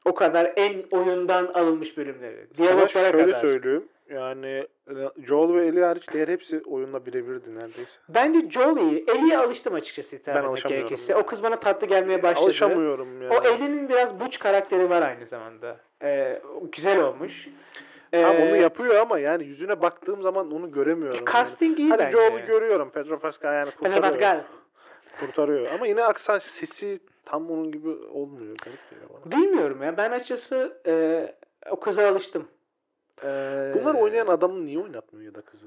S1: O kadar en oyundan alınmış bölümleri.
S2: Sana
S1: Diyaloglara
S2: şöyle
S1: kadar.
S2: söyleyeyim. Yani e, Joel ve Ellie hariç diğer hepsi oyunla birebirdi neredeyse.
S1: Bence Joel iyi. Ellie'ye alıştım açıkçası hitap
S2: Ben
S1: etmek
S2: alışamıyorum
S1: gerekirse.
S2: ya.
S1: O kız bana tatlı gelmeye başladı.
S2: Alışamıyorum yani.
S1: O Ellie'nin biraz buç karakteri var aynı zamanda. Ee, güzel olmuş.
S2: Tamam,
S1: Ee,
S2: onu yapıyor ama yani yüzüne baktığım zaman onu göremiyorum.
S1: Casting iyi
S2: yani. Hadi
S1: bence.
S2: Joel'u görüyorum. Pedro Pascal yani
S1: Pedro
S2: kurtarıyor.
S1: Pascal.
S2: Kurtarıyor. Ama yine aksan sesi tam onun gibi olmuyor. Garip geliyor bana.
S1: Bilmiyorum ya. Ben açıkçası e, o kıza alıştım. E,
S2: Bunlar oynayan adamı niye oynatmıyor ya da kızı?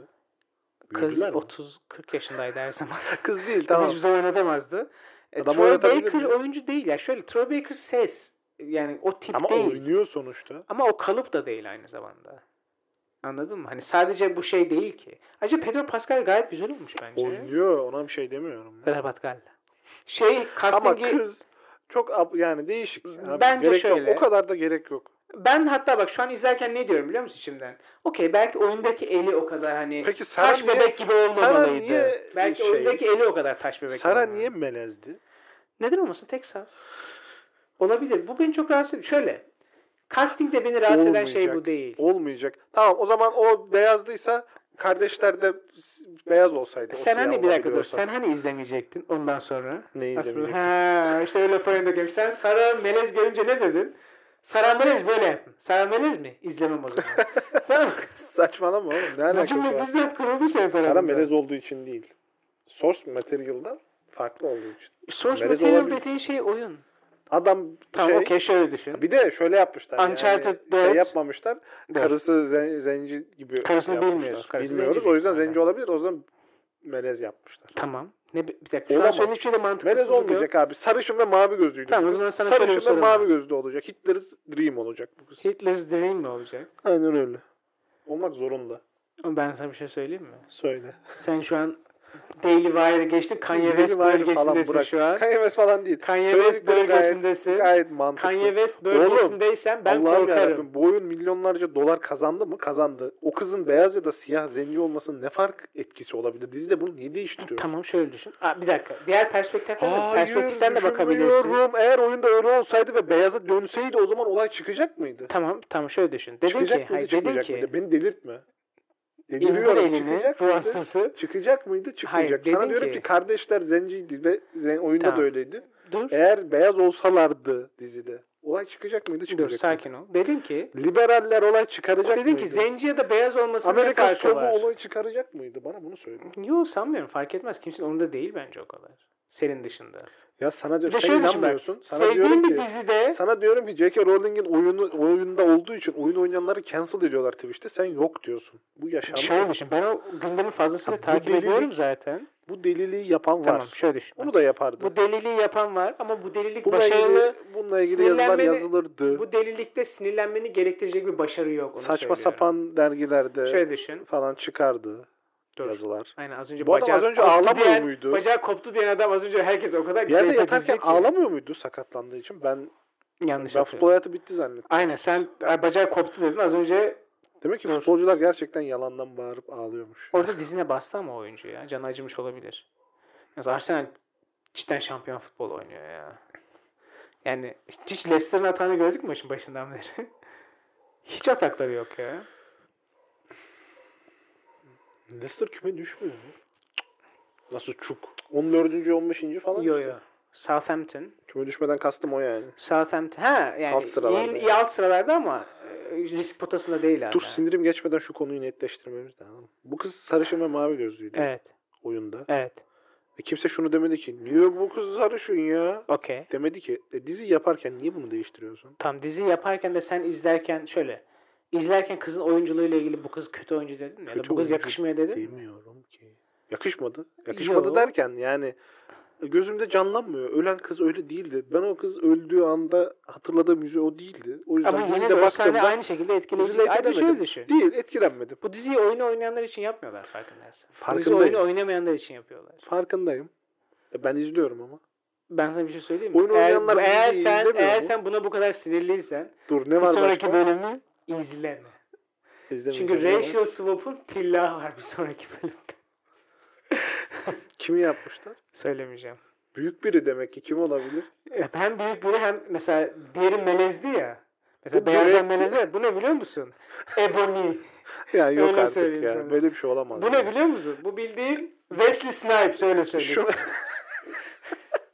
S1: kız
S2: Büyüdüler mi?
S1: 30-40 yaşındaydı her zaman.
S2: Kız değil
S1: Tamam.
S2: tamam.
S1: Hiçbir zaman oynatamazdı. E,
S2: Adam
S1: Troy
S2: oynatabilir
S1: Baker
S2: mi?
S1: oyuncu değil. ya. Şöyle Troy Baker ses. Yani o tip
S2: Ama
S1: değil.
S2: oynuyor sonuçta.
S1: Ama o kalıp da değil aynı zamanda. Anladın mı? Hani sadece bu şey değil ki. Ayrıca Pedro Pascal gayet güzel olmuş bence.
S2: Oynuyor. Ona bir şey demiyorum.
S1: Pedro Pascal. Şey
S2: Ama
S1: castingi
S2: kız çok ab- yani değişik. Abi,
S1: Bence
S2: gerek yok.
S1: şöyle.
S2: O kadar da gerek yok.
S1: Ben hatta bak şu an izlerken ne diyorum biliyor musun içimden? Okey belki oyundaki eli o kadar hani
S2: Peki Sara
S1: taş
S2: niye,
S1: bebek gibi
S2: Sara
S1: olmamalıydı.
S2: niye
S1: belki
S2: şey-
S1: oyundaki eli o kadar taş bebek
S2: Sara
S1: olmamalı.
S2: niye melezdi?
S1: Neden olmasın Texas? Olabilir. Bu beni çok rahatsız ediyor. Şöyle. Casting'de beni rahatsız eden şey bu
S2: Olmayacak.
S1: değil.
S2: Olmayacak. Tamam o zaman o beyazdıysa kardeşler de s- beyaz olsaydı. o
S1: Sen
S2: siyah
S1: hani bir dakika dur.
S2: olabiliyorsa.
S1: Sen hani izlemeyecektin ondan sonra.
S2: Neyi
S1: Aslında
S2: izlemeyecektim?
S1: ha işte öyle falan dedim. Sen Sara Melez görünce ne dedin? Sara Melez böyle yaptın. Sara Melez mi? İzlemem o zaman. Sen
S2: Saçmalama oğlum. Ne alakası
S1: Cümle
S2: var?
S1: bizzat kuruldu şey senin tarafından.
S2: Sara melez olduğu için değil. Source material'dan farklı olduğu için.
S1: Source
S2: Melez
S1: Material
S2: olabilir.
S1: dediğin şey oyun.
S2: Adam
S1: Tamam
S2: şey,
S1: okey şöyle düşün.
S2: bir de şöyle yapmışlar.
S1: Uncharted
S2: yani, Şey
S1: 4.
S2: yapmamışlar.
S1: Dört.
S2: Karısı zen- zenci gibi
S1: Karısını
S2: yapmışlar.
S1: bilmiyoruz. Karısı
S2: Bilmiyoruz.
S1: zenci
S2: O yüzden
S1: büyük
S2: zenci olabilir. O zaman melez yapmışlar.
S1: Tamam. Ne, bir dakika. Şu an
S2: Olamaz.
S1: söylediğim şey de mantıklı.
S2: Melez olmayacak abi. Sarışın ve mavi gözlüydü.
S1: Tamam, o
S2: bu kız.
S1: zaman sana şöyle bir
S2: Sarışın ve
S1: sorum
S2: mavi
S1: var.
S2: gözlü olacak. Hitler's Dream olacak bu kız.
S1: Hitler's Dream mi olacak?
S2: Aynen öyle. Olmak zorunda.
S1: Ama ben sana bir şey söyleyeyim mi?
S2: Söyle.
S1: Sen şu an Daily Wire'ı geçtin. Kanye West bölgesindesin şu an.
S2: Kanye West falan değil.
S1: Kanye West
S2: Söyledikleri gayet-
S1: bölgesindesin.
S2: Gayet mantıklı.
S1: Kanye West
S2: Oğlum,
S1: bölgesindeysen ben
S2: Allah'ım
S1: korkarım.
S2: yarabbim bu oyun milyonlarca dolar kazandı mı? Kazandı. O kızın beyaz ya da siyah zenci olmasının ne fark etkisi olabilir? Dizide bunu niye değiştiriyor?
S1: Tamam şöyle düşün. Aa, bir dakika. Diğer perspektiften de, perspektiften de bakabilirsin.
S2: düşünmüyorum. Eğer oyunda öyle olsaydı ve beyaza dönseydi o zaman olay çıkacak mıydı?
S1: Tamam tamam şöyle düşün. Dedin ki,
S2: çıkacak mıydı,
S1: hayır, dedin
S2: çıkmayacak
S1: ki
S2: mıydı? Beni delirtme.
S1: indir
S2: Deliriyorum.
S1: elini
S2: Çıkacak
S1: bu
S2: mıydı?
S1: hastası.
S2: Çıkacak mıydı? Çıkmayacak.
S1: Hayır,
S2: Sana
S1: dedin
S2: diyorum ki,
S1: ki-
S2: kardeşler zenciydi ve zen- oyunda
S1: Tamam.
S2: da öyleydi.
S1: Dur.
S2: Eğer beyaz olsalardı dizide olay çıkacak mıydı?
S1: dur
S2: Çıkmayacak
S1: sakin ol. Dedin ki
S2: mıydı? Liberaller olay çıkaracak
S1: dedin
S2: mıydı?
S1: ki zenci ya da beyaz olmasının ne
S2: Amerika
S1: farkı
S2: solu
S1: var?
S2: olayı çıkaracak mıydı? Bana bunu söyle.
S1: Yok sanmıyorum. Fark etmez. Kimsenin umurunda değil bence o kadar. Senin dışında.
S2: Ya sana
S1: Bir de
S2: diyorum sen
S1: şöyle düşün bak,
S2: inanmıyorsun. Sana diyorum
S1: Sevdiğin
S2: ki
S1: bir dizide
S2: sana diyorum ki J.K. Rowling'in oyunu oyunda olduğu için oyun oynayanları cancel ediyorlar Twitch'te. Sen yok diyorsun. Bu
S1: şöyle
S2: yaşandı.
S1: düşün. Ben o gündemin fazlasıyla
S2: Ha, bu
S1: takip
S2: delilik
S1: ediyorum zaten.
S2: Bu deliliği yapan var.
S1: Tamam şöyle düşün.
S2: Onu da yapardı.
S1: Bu deliliği yapan var ama bu delilik
S2: bununla
S1: başarılı.
S2: ilgili, bununla ilgili yazılar
S1: sinirlenmeni-
S2: yazılırdı.
S1: Bu delilikte sinirlenmeni gerektirecek bir başarı yok. Onu
S2: Saçma
S1: söylüyorum.
S2: sapan dergilerde
S1: Şöyle düşün.
S2: falan çıkardı
S1: Dur.
S2: yazılar.
S1: Aynen az önce
S2: Bu adam
S1: bacağı
S2: az önce
S1: koptu
S2: ağlamıyor
S1: diyen-
S2: muydu?
S1: Bacağı koptu diyen adam az önce herkes o kadar güzel
S2: Yerde
S1: ifade
S2: yatarken
S1: edildi ki.
S2: ağlamıyor muydu sakatlandığı için? Ben,
S1: Yanlış
S2: ben
S1: hatırlıyorum.
S2: futbol hayatı bitti zannettim.
S1: Aynen sen ay, bacağı koptu dedin az önce
S2: Demek ki
S1: Dur.
S2: futbolcular gerçekten yalandan bağırıp ağlıyormuş.
S1: orada dizine bastı ama oyuncu ya. Canı acımış olabilir. Yalnız Arsenal cidden şampiyon futbol oynuyor ya. Yani hiç- hiç Leicester'ın hatanı gördük mü maçın başından beri? hiç atakları yok ya.
S2: Leicester küme düşmüyor mu? Nasıl çuk? 14. 15. falan.
S1: Yo
S2: işte.
S1: yo. Southampton.
S2: Küme düşmeden kastım o yani.
S1: Southampton. Ha yani
S2: Alt
S1: alt
S2: sıralarda
S1: iyi,
S2: yani.
S1: iyi alt sıralarda ama e, risk potasında değil hala.
S2: Dur sinirim geçmeden şu konuyu netleştirmemiz lazım. Bu kız sarışın ve mavi gözlüydü
S1: Evet.
S2: oyunda.
S1: Evet.
S2: E kimse şunu demedi ki. Niye bu kız sarışın ya?
S1: Okey.
S2: Demedi ki. E, dizi yaparken niye bunu değiştiriyorsun?
S1: Tam dizi yaparken de sen izlerken şöyle izlerken kızın oyunculuğuyla ilgili bu kız kötü oyuncu dedin mi? ya da
S2: Kötü
S1: bu kız
S2: oyuncu
S1: yakışmıyor dedin. mi?
S2: Demiyorum ki. Yakışmadı. Yakışmadı
S1: Yo.
S2: derken yani e, gözümde canlanmıyor. Ölen kız öyle değildi. Ben o kız öldüğü anda hatırladığım yüzü o değildi. O yüzden
S1: Ama yine de
S2: dizide
S1: o sahne
S2: baktığımda
S1: aynı şekilde etkileyici.
S2: relate
S1: değil. Ayrıca şöyle
S2: edemedim.
S1: düşün.
S2: değil etkilenmedim.
S1: Bu diziyi oyunu oynayanlar için yapmıyorlar farkındaysan. Bu dizi
S2: Farkındayım.
S1: oyunu oynamayanlar için yapıyorlar.
S2: Farkındayım. E, ben izliyorum ama.
S1: Ben sana bir şey söyleyeyim mi?
S2: Oyunu
S1: Eğer-
S2: oynayanlar
S1: bu- eğer,
S2: diziyi
S1: sen,
S2: izlemiyor
S1: eğer
S2: mu?
S1: sen buna bu kadar sinirliysen
S2: Dur ne
S1: bir
S2: var
S1: sonraki
S2: başka?
S1: bölümü izleme.
S2: İzlemeyeceğim.
S1: Çünkü
S2: Ne var?
S1: racial swap'ın tillahı var bir sonraki bölümde.
S2: Kimi yapmışlar?
S1: Söylemeyeceğim.
S2: Büyük biri demek ki. Kim olabilir?
S1: E, Hem büyük biri hem mesela diğeri melezdi ya. Mesela
S2: Bu
S1: beyazdan
S2: direkt-
S1: meleze. Bu ne biliyor musun? Ebony.
S2: Ya yok
S1: Öyle
S2: artık
S1: söyleyeyim
S2: ya.
S1: sana.
S2: Böyle bir şey olamaz.
S1: Bu ne biliyor musun? Bu bildiğin Wesley Snipes öyle söyleyeyim.
S2: Şu...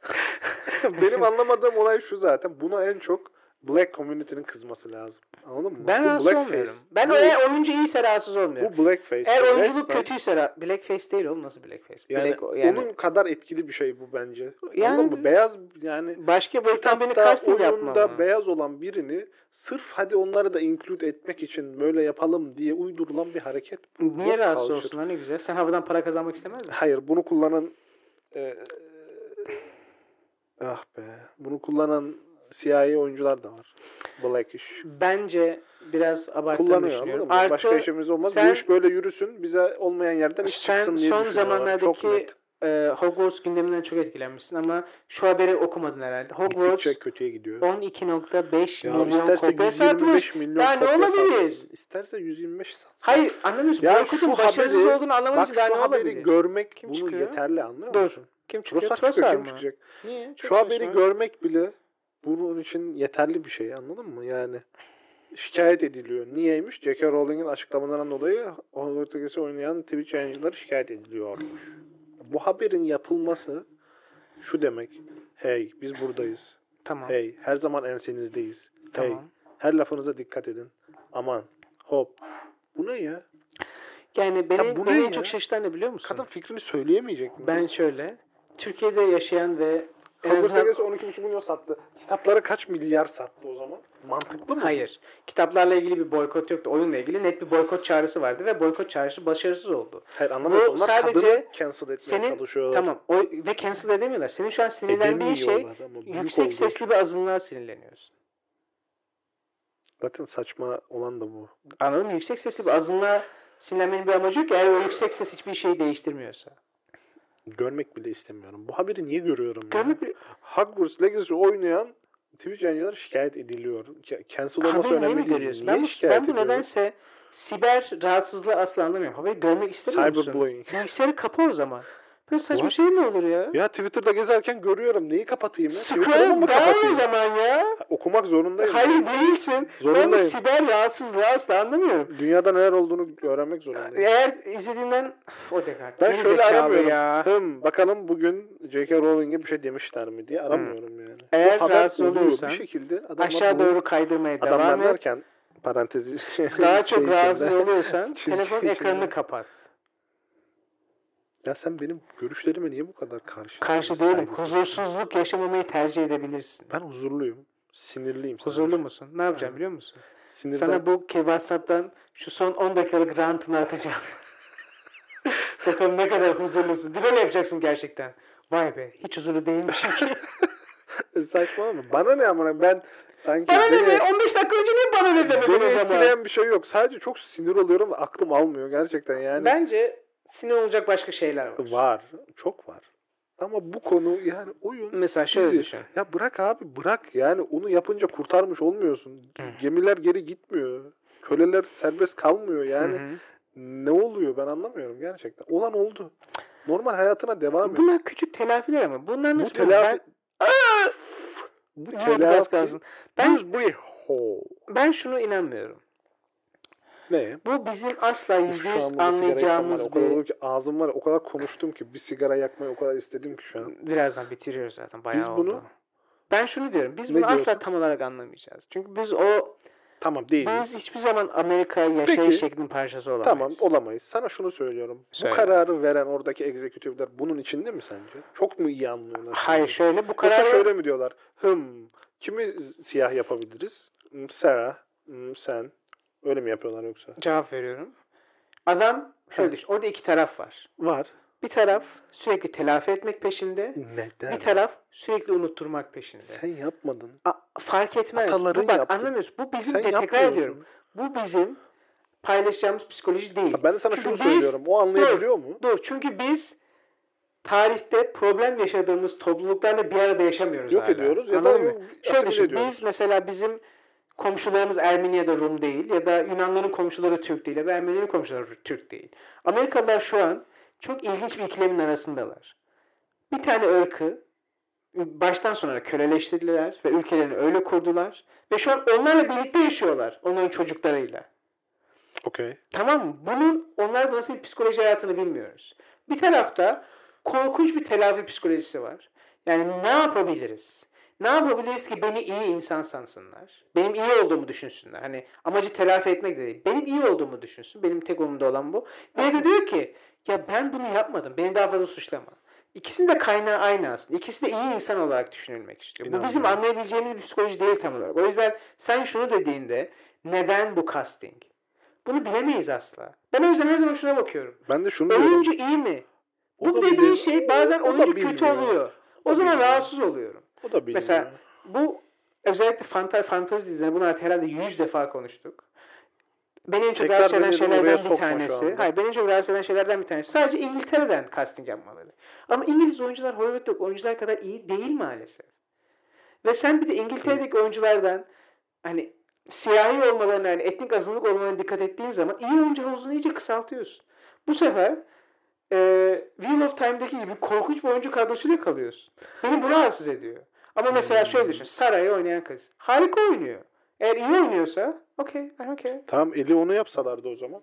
S2: Benim anlamadığım olay şu zaten. Buna en çok Black community'nin kızması lazım. Anladın mı?
S1: Ben
S2: bu
S1: rahatsız olmuyorum. Ben
S2: bu,
S1: eğer oyuncu iyiyse rahatsız olmuyorum.
S2: bu blackface.
S1: eğer oyunculuk
S2: Resmen-
S1: kötüyse ra- Blackface değil oğlum nasıl Blackface?
S2: Yani,
S1: Black, o- yani
S2: onun kadar etkili bir şey bu bence.
S1: Yani-
S2: Anladın mı? Beyaz yani
S1: başka bir tam beni
S2: Hatta
S1: casting yapma.
S2: oyunda beyaz olan birini sırf hadi onları da include etmek için böyle yapalım diye uydurulan bir hareket.
S1: Niye
S2: Yok,
S1: rahatsız
S2: culture.
S1: olsun? Ne güzel. Sen havadan para kazanmak istemez misin?
S2: Hayır bunu kullanan e, ah be bunu kullanan siyahi oyuncular da var. Blackish.
S1: Bence biraz abarttığını
S2: Kullanıyor anladın
S1: düşünüyorum.
S2: mı?
S1: Artı
S2: Başka şey- işimiz olmaz.
S1: sen-
S2: Bu iş böyle yürüsün. Bize olmayan yerden iş
S1: sen
S2: çıksın diye
S1: son
S2: düşünüyorlar. Çok
S1: zamanlardaki
S2: net.
S1: e, Hogwarts gündeminden çok etkilenmişsin ama şu haberi okumadın herhalde. Hogwarts
S2: Gittikçe kötüye gidiyor.
S1: 12.5
S2: Ya
S1: milyon
S2: isterse
S1: kopya satmış.
S2: 125 milyon
S1: Daha ne
S2: kopya
S1: olabilir?
S2: satsın. İsterse 125 satsın.
S1: Hayır anlamıyorsun.
S2: Ya
S1: Boykotun
S2: şu
S1: başarısız
S2: haberi-
S1: olduğunu anlaman
S2: Bak
S1: için
S2: şu
S1: daha ne
S2: haberi
S1: olabilir?
S2: görmek
S1: Kim
S2: bunu
S1: çıkıyor?
S2: yeterli anlıyor
S1: Doğru.
S2: musun?
S1: kim çıkıyor?
S2: Trossard
S1: Trossard
S2: çıkıyor, kim
S1: mı?
S2: çıkacak?
S1: Niye? Çok
S2: şu haberi
S1: saçma.
S2: görmek bile bunun için yeterli bir şey anladın mı? Yani şikayet ediliyor. Niyeymiş? J.K. Rowling'in açıklamalarından dolayı Hogwarts'ı oynayan Twitch yayıncıları şikayet ediliyormuş. Bu haberin yapılması şu demek. Hey biz buradayız.
S1: Tamam.
S2: Hey her zaman ensenizdeyiz. Hey
S1: Tamam.
S2: her lafınıza dikkat edin. Aman hop. Bu ne ya?
S1: Yani beni,
S2: Ya bu
S1: beni
S2: ne
S1: en
S2: ya?
S1: çok şaşırtan ne biliyor musun?
S2: Kadın fikrini söyleyemeyecek mi?
S1: Ben şöyle. Türkiye'de yaşayan ve en
S2: Hogwarts
S1: azından-
S2: Legacy 12,5 milyon sattı. Kitaplara kaç milyar sattı o zaman? Mantıklı mı?
S1: Hayır. Kitaplarla ilgili bir boykot yoktu. Oyunla ilgili net bir boykot çağrısı vardı ve boykot çağrısı başarısız oldu.
S2: Hayır anlamıyorsun.
S1: Bu
S2: Onlar
S1: sadece
S2: kadını cancel etmeye
S1: senin-
S2: çalışıyorlar.
S1: Tamam. O, ve cancel edemiyorlar. Senin şu an sinirlendiğin şey
S2: Edemiyorlar ama büyük
S1: yüksek
S2: olduğu için.
S1: sesli bir azınlığa sinirleniyorsun.
S2: Zaten saçma olan da bu.
S1: Anladın mı? Yüksek sesli bir azınlığa sinirlenmenin bir amacı yok. ki. Eğer o yüksek ses hiçbir şeyi değiştirmiyorsa.
S2: Görmek bile istemiyorum. Bu haberi niye görüyorum ya?
S1: Görmek bir
S2: Hogwarts Legacy oynayan Twitch yayıncıları şikayet ediliyor. Ke- Cancel olması
S1: haberi niye mi
S2: önemli değil.
S1: görüyorsun?
S2: Niye
S1: Ben bu,
S2: şikayet
S1: ben bu
S2: ediyorum?
S1: nedense siber rahatsızlığı asla anlamıyorum. Haberi görmek istemiyor musun?
S2: Cyberbullying.
S1: Bilgisayarı kapa o zaman. Böyle saçma
S2: What?
S1: şey mi olur ya?
S2: Ya Twitter'da gezerken görüyorum. Neyi kapatayım ya? Twitter'ımı
S1: Scroll
S2: mı
S1: down o
S2: kapatayım?
S1: zaman ya.
S2: Ha, Okumak zorundayım.
S1: Hayır değilsin. Ben bu
S2: Zorundayım.
S1: siber rahatsızlığı asla anlamıyorum.
S2: Dünyada neler olduğunu öğrenmek zorundayım.
S1: Eğer izlediğinden Üf, o Descartes.
S2: Ben
S1: geri
S2: şöyle
S1: zekalı
S2: aramıyorum.
S1: Ya.
S2: Hım, bakalım bugün J.K. Rowling'e bir şey demişler mi diye aramıyorum yani.
S1: Hmm. Eğer
S2: Bu haber
S1: rahatsız
S2: oluyor.
S1: olursan,
S2: bir şekilde adamlar
S1: Aşağı
S2: bunu-
S1: doğru kaydırmaya
S2: adamlar
S1: devam et.
S2: derken parantezi
S1: Daha çok
S2: şey
S1: rahatsız
S2: içinde.
S1: oluyorsan
S2: çizgi
S1: telefon
S2: içinde.
S1: ekranını kapat.
S2: Ya sen benim görüşlerime niye bu kadar karşı?
S1: Karşı değilim.
S2: saygısızsın?
S1: Huzursuzluk yaşamamayı tercih edebilirsin.
S2: Ben huzurluyum. Sinirliyim. sana.
S1: Huzurlu musun? Ne yapacağım
S2: Aynen.
S1: biliyor musun?
S2: Sinirden
S1: Sana bu ki WhatsApp'tan şu son 10 dakikalık rantını atacağım. Bakalım ne kadar huzurlusun. Böyle yapacaksın gerçekten. Vay be hiç huzurlu değilmişim ki.
S2: saçmalama. Bana ne amına ben sanki
S1: Bana ne
S2: beni,
S1: be? 15 dakika önce niye bana ne demedin
S2: beni
S1: o zaman?
S2: etkileyen bir şey yok. Sadece çok sinir oluyorum ve aklım almıyor gerçekten yani.
S1: Bence sinir olacak başka şeyler var.
S2: Var. Çok var. Ama bu konu yani oyun
S1: Mesela şöyle
S2: Bizi-
S1: düşün.
S2: Ya bırak abi bırak yani onu yapınca kurtarmış olmuyorsun.
S1: Hı.
S2: Gemiler geri gitmiyor. Köleler serbest kalmıyor yani.
S1: Hı hı.
S2: Ne oluyor ben anlamıyorum gerçekten. Olan oldu. Normal hayatına devam et.
S1: Bunlar küçük telafiler ama. Bunlar
S2: Bu
S1: nasıl telafi?
S2: telafi...
S1: Ben... Aa!
S2: Bu
S1: Vurduk az
S2: telafi...
S1: kalsın. Ben-
S2: Use we whole.
S1: Ben şunu inanmıyorum.
S2: Ne?
S1: Bu bizim asla
S2: Uf,
S1: yüzde
S2: Şu an
S1: yüz
S2: bana sigara içsem var. ya, O
S1: anlayacağımız
S2: kadar
S1: bir...
S2: oldu ki ağzım var ya, o kadar konuştum ki bir sigara yakmayı o kadar istedim ki şu an.
S1: Birazdan bitiriyoruz zaten. Bayağı
S2: Biz bunu-
S1: oldu. Ben şunu diyorum. Biz
S2: Ne
S1: bunu asla
S2: diyorsun?
S1: tam olarak anlamayacağız. Çünkü biz o
S2: Tamam değil.
S1: biz hiçbir zaman Amerika yaşayış
S2: Peki.
S1: şeklinin parçası olamayız.
S2: Tamam olamayız. Sana şunu söylüyorum.
S1: Söyle.
S2: Bu kararı veren oradaki egzekütifler bunun içinde mi sence? Çok mu iyi anlıyorlar?
S1: Hayır şöyle bu
S2: Karar
S1: kararı
S2: şöyle mi diyorlar? Hım, kimi z- siyah yapabiliriz? Hmm, Sarah, hmm, sen. Öyle mi yapıyorlar yoksa?
S1: cevap veriyorum. Adam şöyle
S2: Heh.
S1: düşün. Orada iki taraf var.
S2: Var.
S1: Bir taraf sürekli telafi etmek peşinde.
S2: Neden?
S1: Bir taraf sürekli unutturmak peşinde.
S2: Sen yapmadın.
S1: A- fark etmez.
S2: Ataların
S1: bu bak
S2: yaptı.
S1: anlamıyorsun. Bu bizim
S2: sen
S1: de tekrar
S2: yapmıyorsun.
S1: ediyorum. Bu bizim paylaşacağımız psikoloji değil.
S2: Ya Ben de sana
S1: Çünkü
S2: şunu
S1: biz-
S2: söylüyorum. O anlayabiliyor mu?
S1: Doğru. Çünkü biz tarihte problem yaşadığımız topluluklarla bir arada yaşamıyoruz
S2: Yok
S1: hala.
S2: ediyoruz ya da
S1: Anladın mı?
S2: yok,
S1: Şöyle
S2: asimile
S1: düşün.
S2: ediyoruz.
S1: Biz mesela bizim komşularımız Ermeni ya da Rum değil ya da Yunanların komşuları Türk değil ya da Ermenilerin komşuları Türk değil. Amerikalılar şu an çok ilginç bir ikilemin arasındalar. Bir tane ırkı baştan sona köleleştirdiler ve ülkelerini öyle kurdular ve şu an onlarla birlikte yaşıyorlar. Onların çocuklarıyla.
S2: Okey.
S1: Tamam mı? Bunun onlarda nasıl bir psikoloji hayatını bilmiyoruz. Bir tarafta korkunç bir telafi psikolojisi var. Yani ne yapabiliriz? Ne yapabiliriz ki beni iyi insan sansınlar? Benim iyi olduğumu düşünsünler. Hani amacı telafi etmek de değil. Benim iyi olduğumu düşünsün. Benim tek umurumda olan bu. Bir de diyor ki ya ben bunu yapmadım. Beni daha fazla suçlama. İkisinin de kaynağı aynı aslında. İkisi de iyi insan olarak düşünülmek istiyor. Bu bizim
S2: İnanmıyorum.
S1: anlayabileceğimiz bir psikoloji değil tam olarak. O yüzden sen şunu dediğinde neden bu casting? Bunu bilemeyiz asla. Ben o yüzden her zaman şuna bakıyorum.
S2: Ben de şunu diyorum.
S1: Oyuncu iyi mi?
S2: O
S1: Bu
S2: da
S1: dediğin
S2: bilir-
S1: şey bazen
S2: o da
S1: oyuncu kötü
S2: bilmiyor.
S1: oluyor. O,
S2: O da
S1: zaman
S2: bilmiyor.
S1: rahatsız oluyorum.
S2: O da bilmiyor.
S1: Mesela- Bu özellikle fanta, fantazi dizilerinde bunu artık herhalde 100 defa konuştuk. Beni en çok
S2: Tekrar
S1: rahatsız eden
S2: beni oraya
S1: şeylerden bir
S2: sokma şu
S1: tanesi.
S2: anda.
S1: Hayır beni en çok rahatsız eden şeylerden bir tanesi. Sadece İngiltere'den casting yapmaları. Ama İngiliz oyuncular Hollywood'daki oyuncular kadar iyi değil maalesef. Ve sen bir de İngiltere'deki oyunculardan hani siyahi olmalarına yani etnik azınlık olmalarına dikkat ettiğin zaman iyi oyuncu havuzunu iyice kısaltıyorsun. Bu sefer e, Wheel of Time'daki gibi korkunç bir oyuncu kadrosuyla kalıyorsun. Beni bu rahatsız ediyor. Ama
S2: Hmm.
S1: mesela şöyle düşün. Sara'yı oynayan kız. Harika oynuyor. Eğer iyi oynuyorsa okey ben okey.
S2: Tamam eli onu yapsalardı o zaman.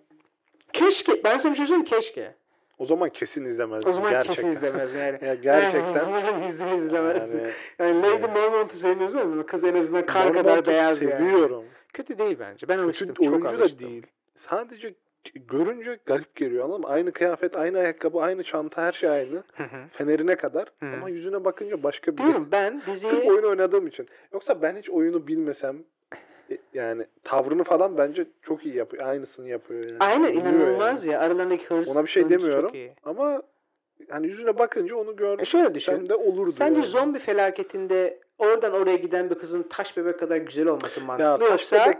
S1: Keşke. Ben sana bir şey söyleyeyim mi? keşke.
S2: O zaman kesin izlemezdim.
S1: O zaman
S2: gerçekten.
S1: kesin izlemez yani.
S2: Ya gerçekten.
S1: Yani, o zaman yüzde yüz izlemez. Yani,
S2: Yani,
S1: Lady
S2: Evet.
S1: Mormont'u sevmiyorsun ama kız en azından kar kadar
S2: Mormont'u
S1: beyaz yani.
S2: Seviyorum.
S1: Kötü değil bence. Ben alıştım.
S2: Çünkü oyuncu
S1: çok
S2: da
S1: alıştım.
S2: değil. Sadece görünce garip geliyor anladın mı? Aynı kıyafet, aynı ayakkabı, aynı çanta her şey aynı.
S1: Hı hı.
S2: Fenerine kadar.
S1: Hı.
S2: Ama yüzüne bakınca başka bir
S1: Diyorum ben diziyi...
S2: Sırf oyun oynadığım için. Yoksa ben hiç oyunu bilmesem e, yani tavrını falan bence çok iyi yapıyor. Aynısını yapıyor yani.
S1: Aynen
S2: Biliyor
S1: inanılmaz
S2: yani.
S1: ya. Aralarındaki hırs.
S2: Ona bir şey
S1: hırs çok
S2: demiyorum.
S1: iyi.
S2: Ama yani yüzüne bakınca onu
S1: E
S2: görsem
S1: şöyle düşün.
S2: de olurdu.
S1: Sence
S2: yani.
S1: zombi felaketinde oradan oraya giden bir kızın taş bebek kadar güzel olması mantıklı
S2: taş
S1: yoksa
S2: bebek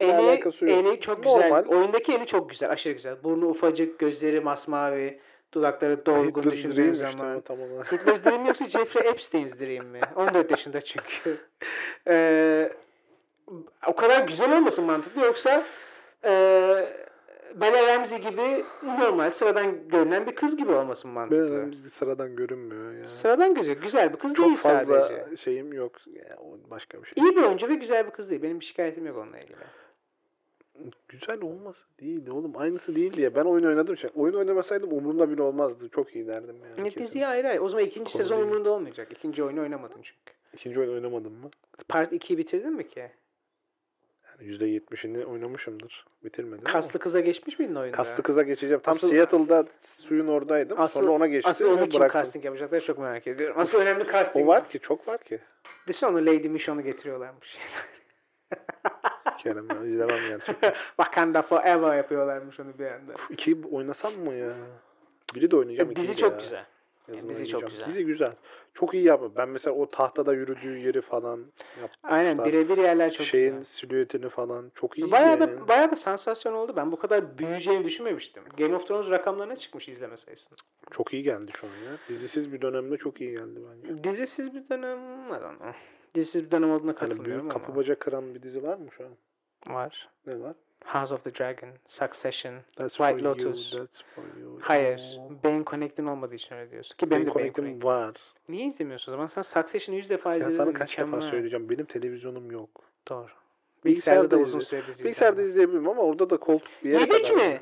S1: eli,
S2: alakası yok.
S1: eli çok
S2: Normal.
S1: güzel. Oyundaki eli çok güzel. Aşırı güzel. Burnu ufacık, gözleri masmavi, dudakları dolgun
S2: Hitler's Dream
S1: düşündüğün
S2: işte
S1: zaman.
S2: o tam olarak.
S1: Hitler's Dream yoksa Jeffrey Epstein's Dream mi? 14 yaşında çünkü. Ee, o kadar güzel olmasın mantıklı yoksa ee, Bella Ramsey gibi normal sıradan görünen bir kız gibi olmasın mantıklı.
S2: Ben sıradan görünmüyor ya.
S1: Sıradan gözüküyor. Güzel bir kız değil
S2: çok fazla
S1: sadece.
S2: şeyim yok. Yani o başka bir şey.
S1: İyi bir oyuncu ve güzel bir kız değil. Benim bir şikayetim yok onunla ilgili.
S2: Güzel olması değil oğlum. Aynısı değil diye. Ben oyun oynadım. Şey. Oyun oynamasaydım umurumda bile olmazdı. Çok iyi derdim yani.
S1: Ne
S2: kesin.
S1: diziye ayrı ayrı. O zaman ikinci
S2: Konu
S1: sezon
S2: değil.
S1: umurunda olmayacak. İkinci oyunu oynamadın çünkü.
S2: İkinci oyun oynamadım mı?
S1: Part 2'yi bitirdin mi ki?
S2: Yani %70'ini oynamışımdır. Bitirmedim
S1: Kaslı kıza geçmiş miydin oyunda?
S2: ama. Kaslı kıza geçeceğim. Tam
S1: Asıl-
S2: Seattle'da suyun oradaydım.
S1: Asıl-
S2: Sonra ona geçtim
S1: Asıl onu
S2: ve
S1: kim
S2: bıraktım.
S1: casting yapacaklar çok merak ediyorum. Asıl önemli casting.
S2: O var ki çok var ki.
S1: Düşünsene onu Lady Michon'u getiriyorlarmış.
S2: Kerem ya, izlemem gerçekten.
S1: Wakanda Forever yapıyorlarmış onu bir anda.
S2: İki oynasam mı ya? Biri de oynayacağım. ikiyi
S1: E, Dizi
S2: de
S1: çok
S2: ya.
S1: güzel.
S2: Yazın
S1: Dizi çok
S2: oynayacağım.
S1: güzel.
S2: Dizi güzel. Çok iyi yapma. Ben mesela o tahtada yürüdüğü yeri falan yapmışlar.
S1: Aynen birebir yerler çok
S2: Şeyin
S1: güzel.
S2: silüetini falan çok iyi
S1: Bayağı
S2: yani.
S1: da, bayağı da sansasyon oldu. Ben bu kadar büyüyeceğini düşünmemiştim. Game of Thrones rakamlarına çıkmış izleme sayısı.
S2: Çok iyi geldi şu an ya. Dizisiz bir dönemde çok iyi geldi bence.
S1: Dizisiz bir dönem var ama. Dizisiz bir dönem olduğuna
S2: Hani
S1: katılmıyorum
S2: büyük
S1: ama.
S2: kapı bacak kıran bir dizi var mı şu an?
S1: Var.
S2: Ne var?
S1: House of the Dragon, Succession.
S2: That's
S1: White
S2: for you,
S1: Lotus.
S2: that's for you.
S1: Hayır. Benim Connect'in olmadığı için öyle diyorsun. Ki benim
S2: Benim
S1: de Benim Connect'im.
S2: konektim var.
S1: Niye izlemiyorsun o zaman? Sen Succession'ı 100 defa
S2: Ben
S1: izledin.
S2: sana kaç defa
S1: mükemmel.
S2: söyleyeceğim. Benim televizyonum yok.
S1: Doğru.
S2: Bilgisayarda
S1: Bilgisayarda da
S2: da
S1: uzun
S2: izle-
S1: süredir izledim.
S2: Bilgisayarda izleyebilirim ama orada da koltuk bir yere
S1: Yedek
S2: kadar.
S1: mi?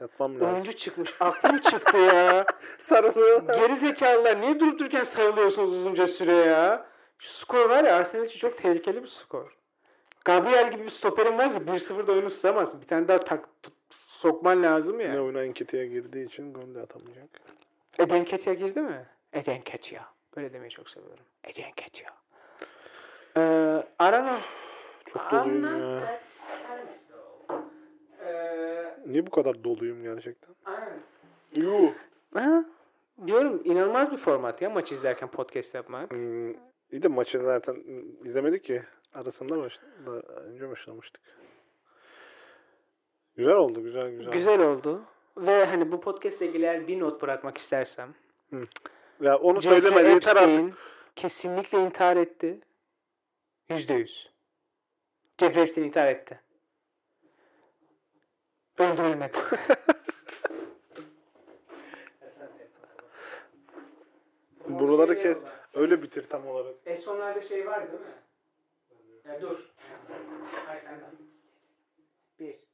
S2: Yatmam lazım.
S1: Oyuncu çıkmış. Aklım çıktı ya.
S2: Sarılıyorlar.
S1: Geri zekalılar niye durup dururken sarılıyorsunuz uzunca süre ya? Şu skor var ya Arsenal için çok tehlikeli bir skor. Gabriel gibi bir stoperin varsa 1-0'da oyunu tutamazsın. Bir tane daha tak, tut- sokman lazım ya.
S2: Ne oyuna Enkete'ye girdiği için gol de atamayacak.
S1: Eden Ketia girdi mi? Eden Ketia. Böyle demeyi çok seviyorum. Eden Ketia. Ee, Arana.
S2: Çok doluyum ya.
S1: Ee,
S2: Niye bu kadar doluyum gerçekten? Yuh.
S1: Ha? Diyorum inanılmaz bir format ya maç izlerken podcast yapmak.
S2: Hmm, iyi de maçı zaten hmm, izlemedik ki. Arasında baş, da- önce başlamıştık. Güzel oldu güzel güzel.
S1: Güzel oldu. Ve hani bu podcast ilgili eğer bir not bırakmak istersem.
S2: Ya onu
S1: Jeffrey
S2: söyleme yeter
S1: Epstein
S2: artık.
S1: Kesinlikle intihar etti. Yüzde yüz. Jeffrey Epstein intihar etti. Öldürülmedi.
S2: Buraları kes. Öyle bitir tam olarak.
S1: En Şey E, sonlarda E, şey var değil mi? Ya dur. Hayır senden. Bir.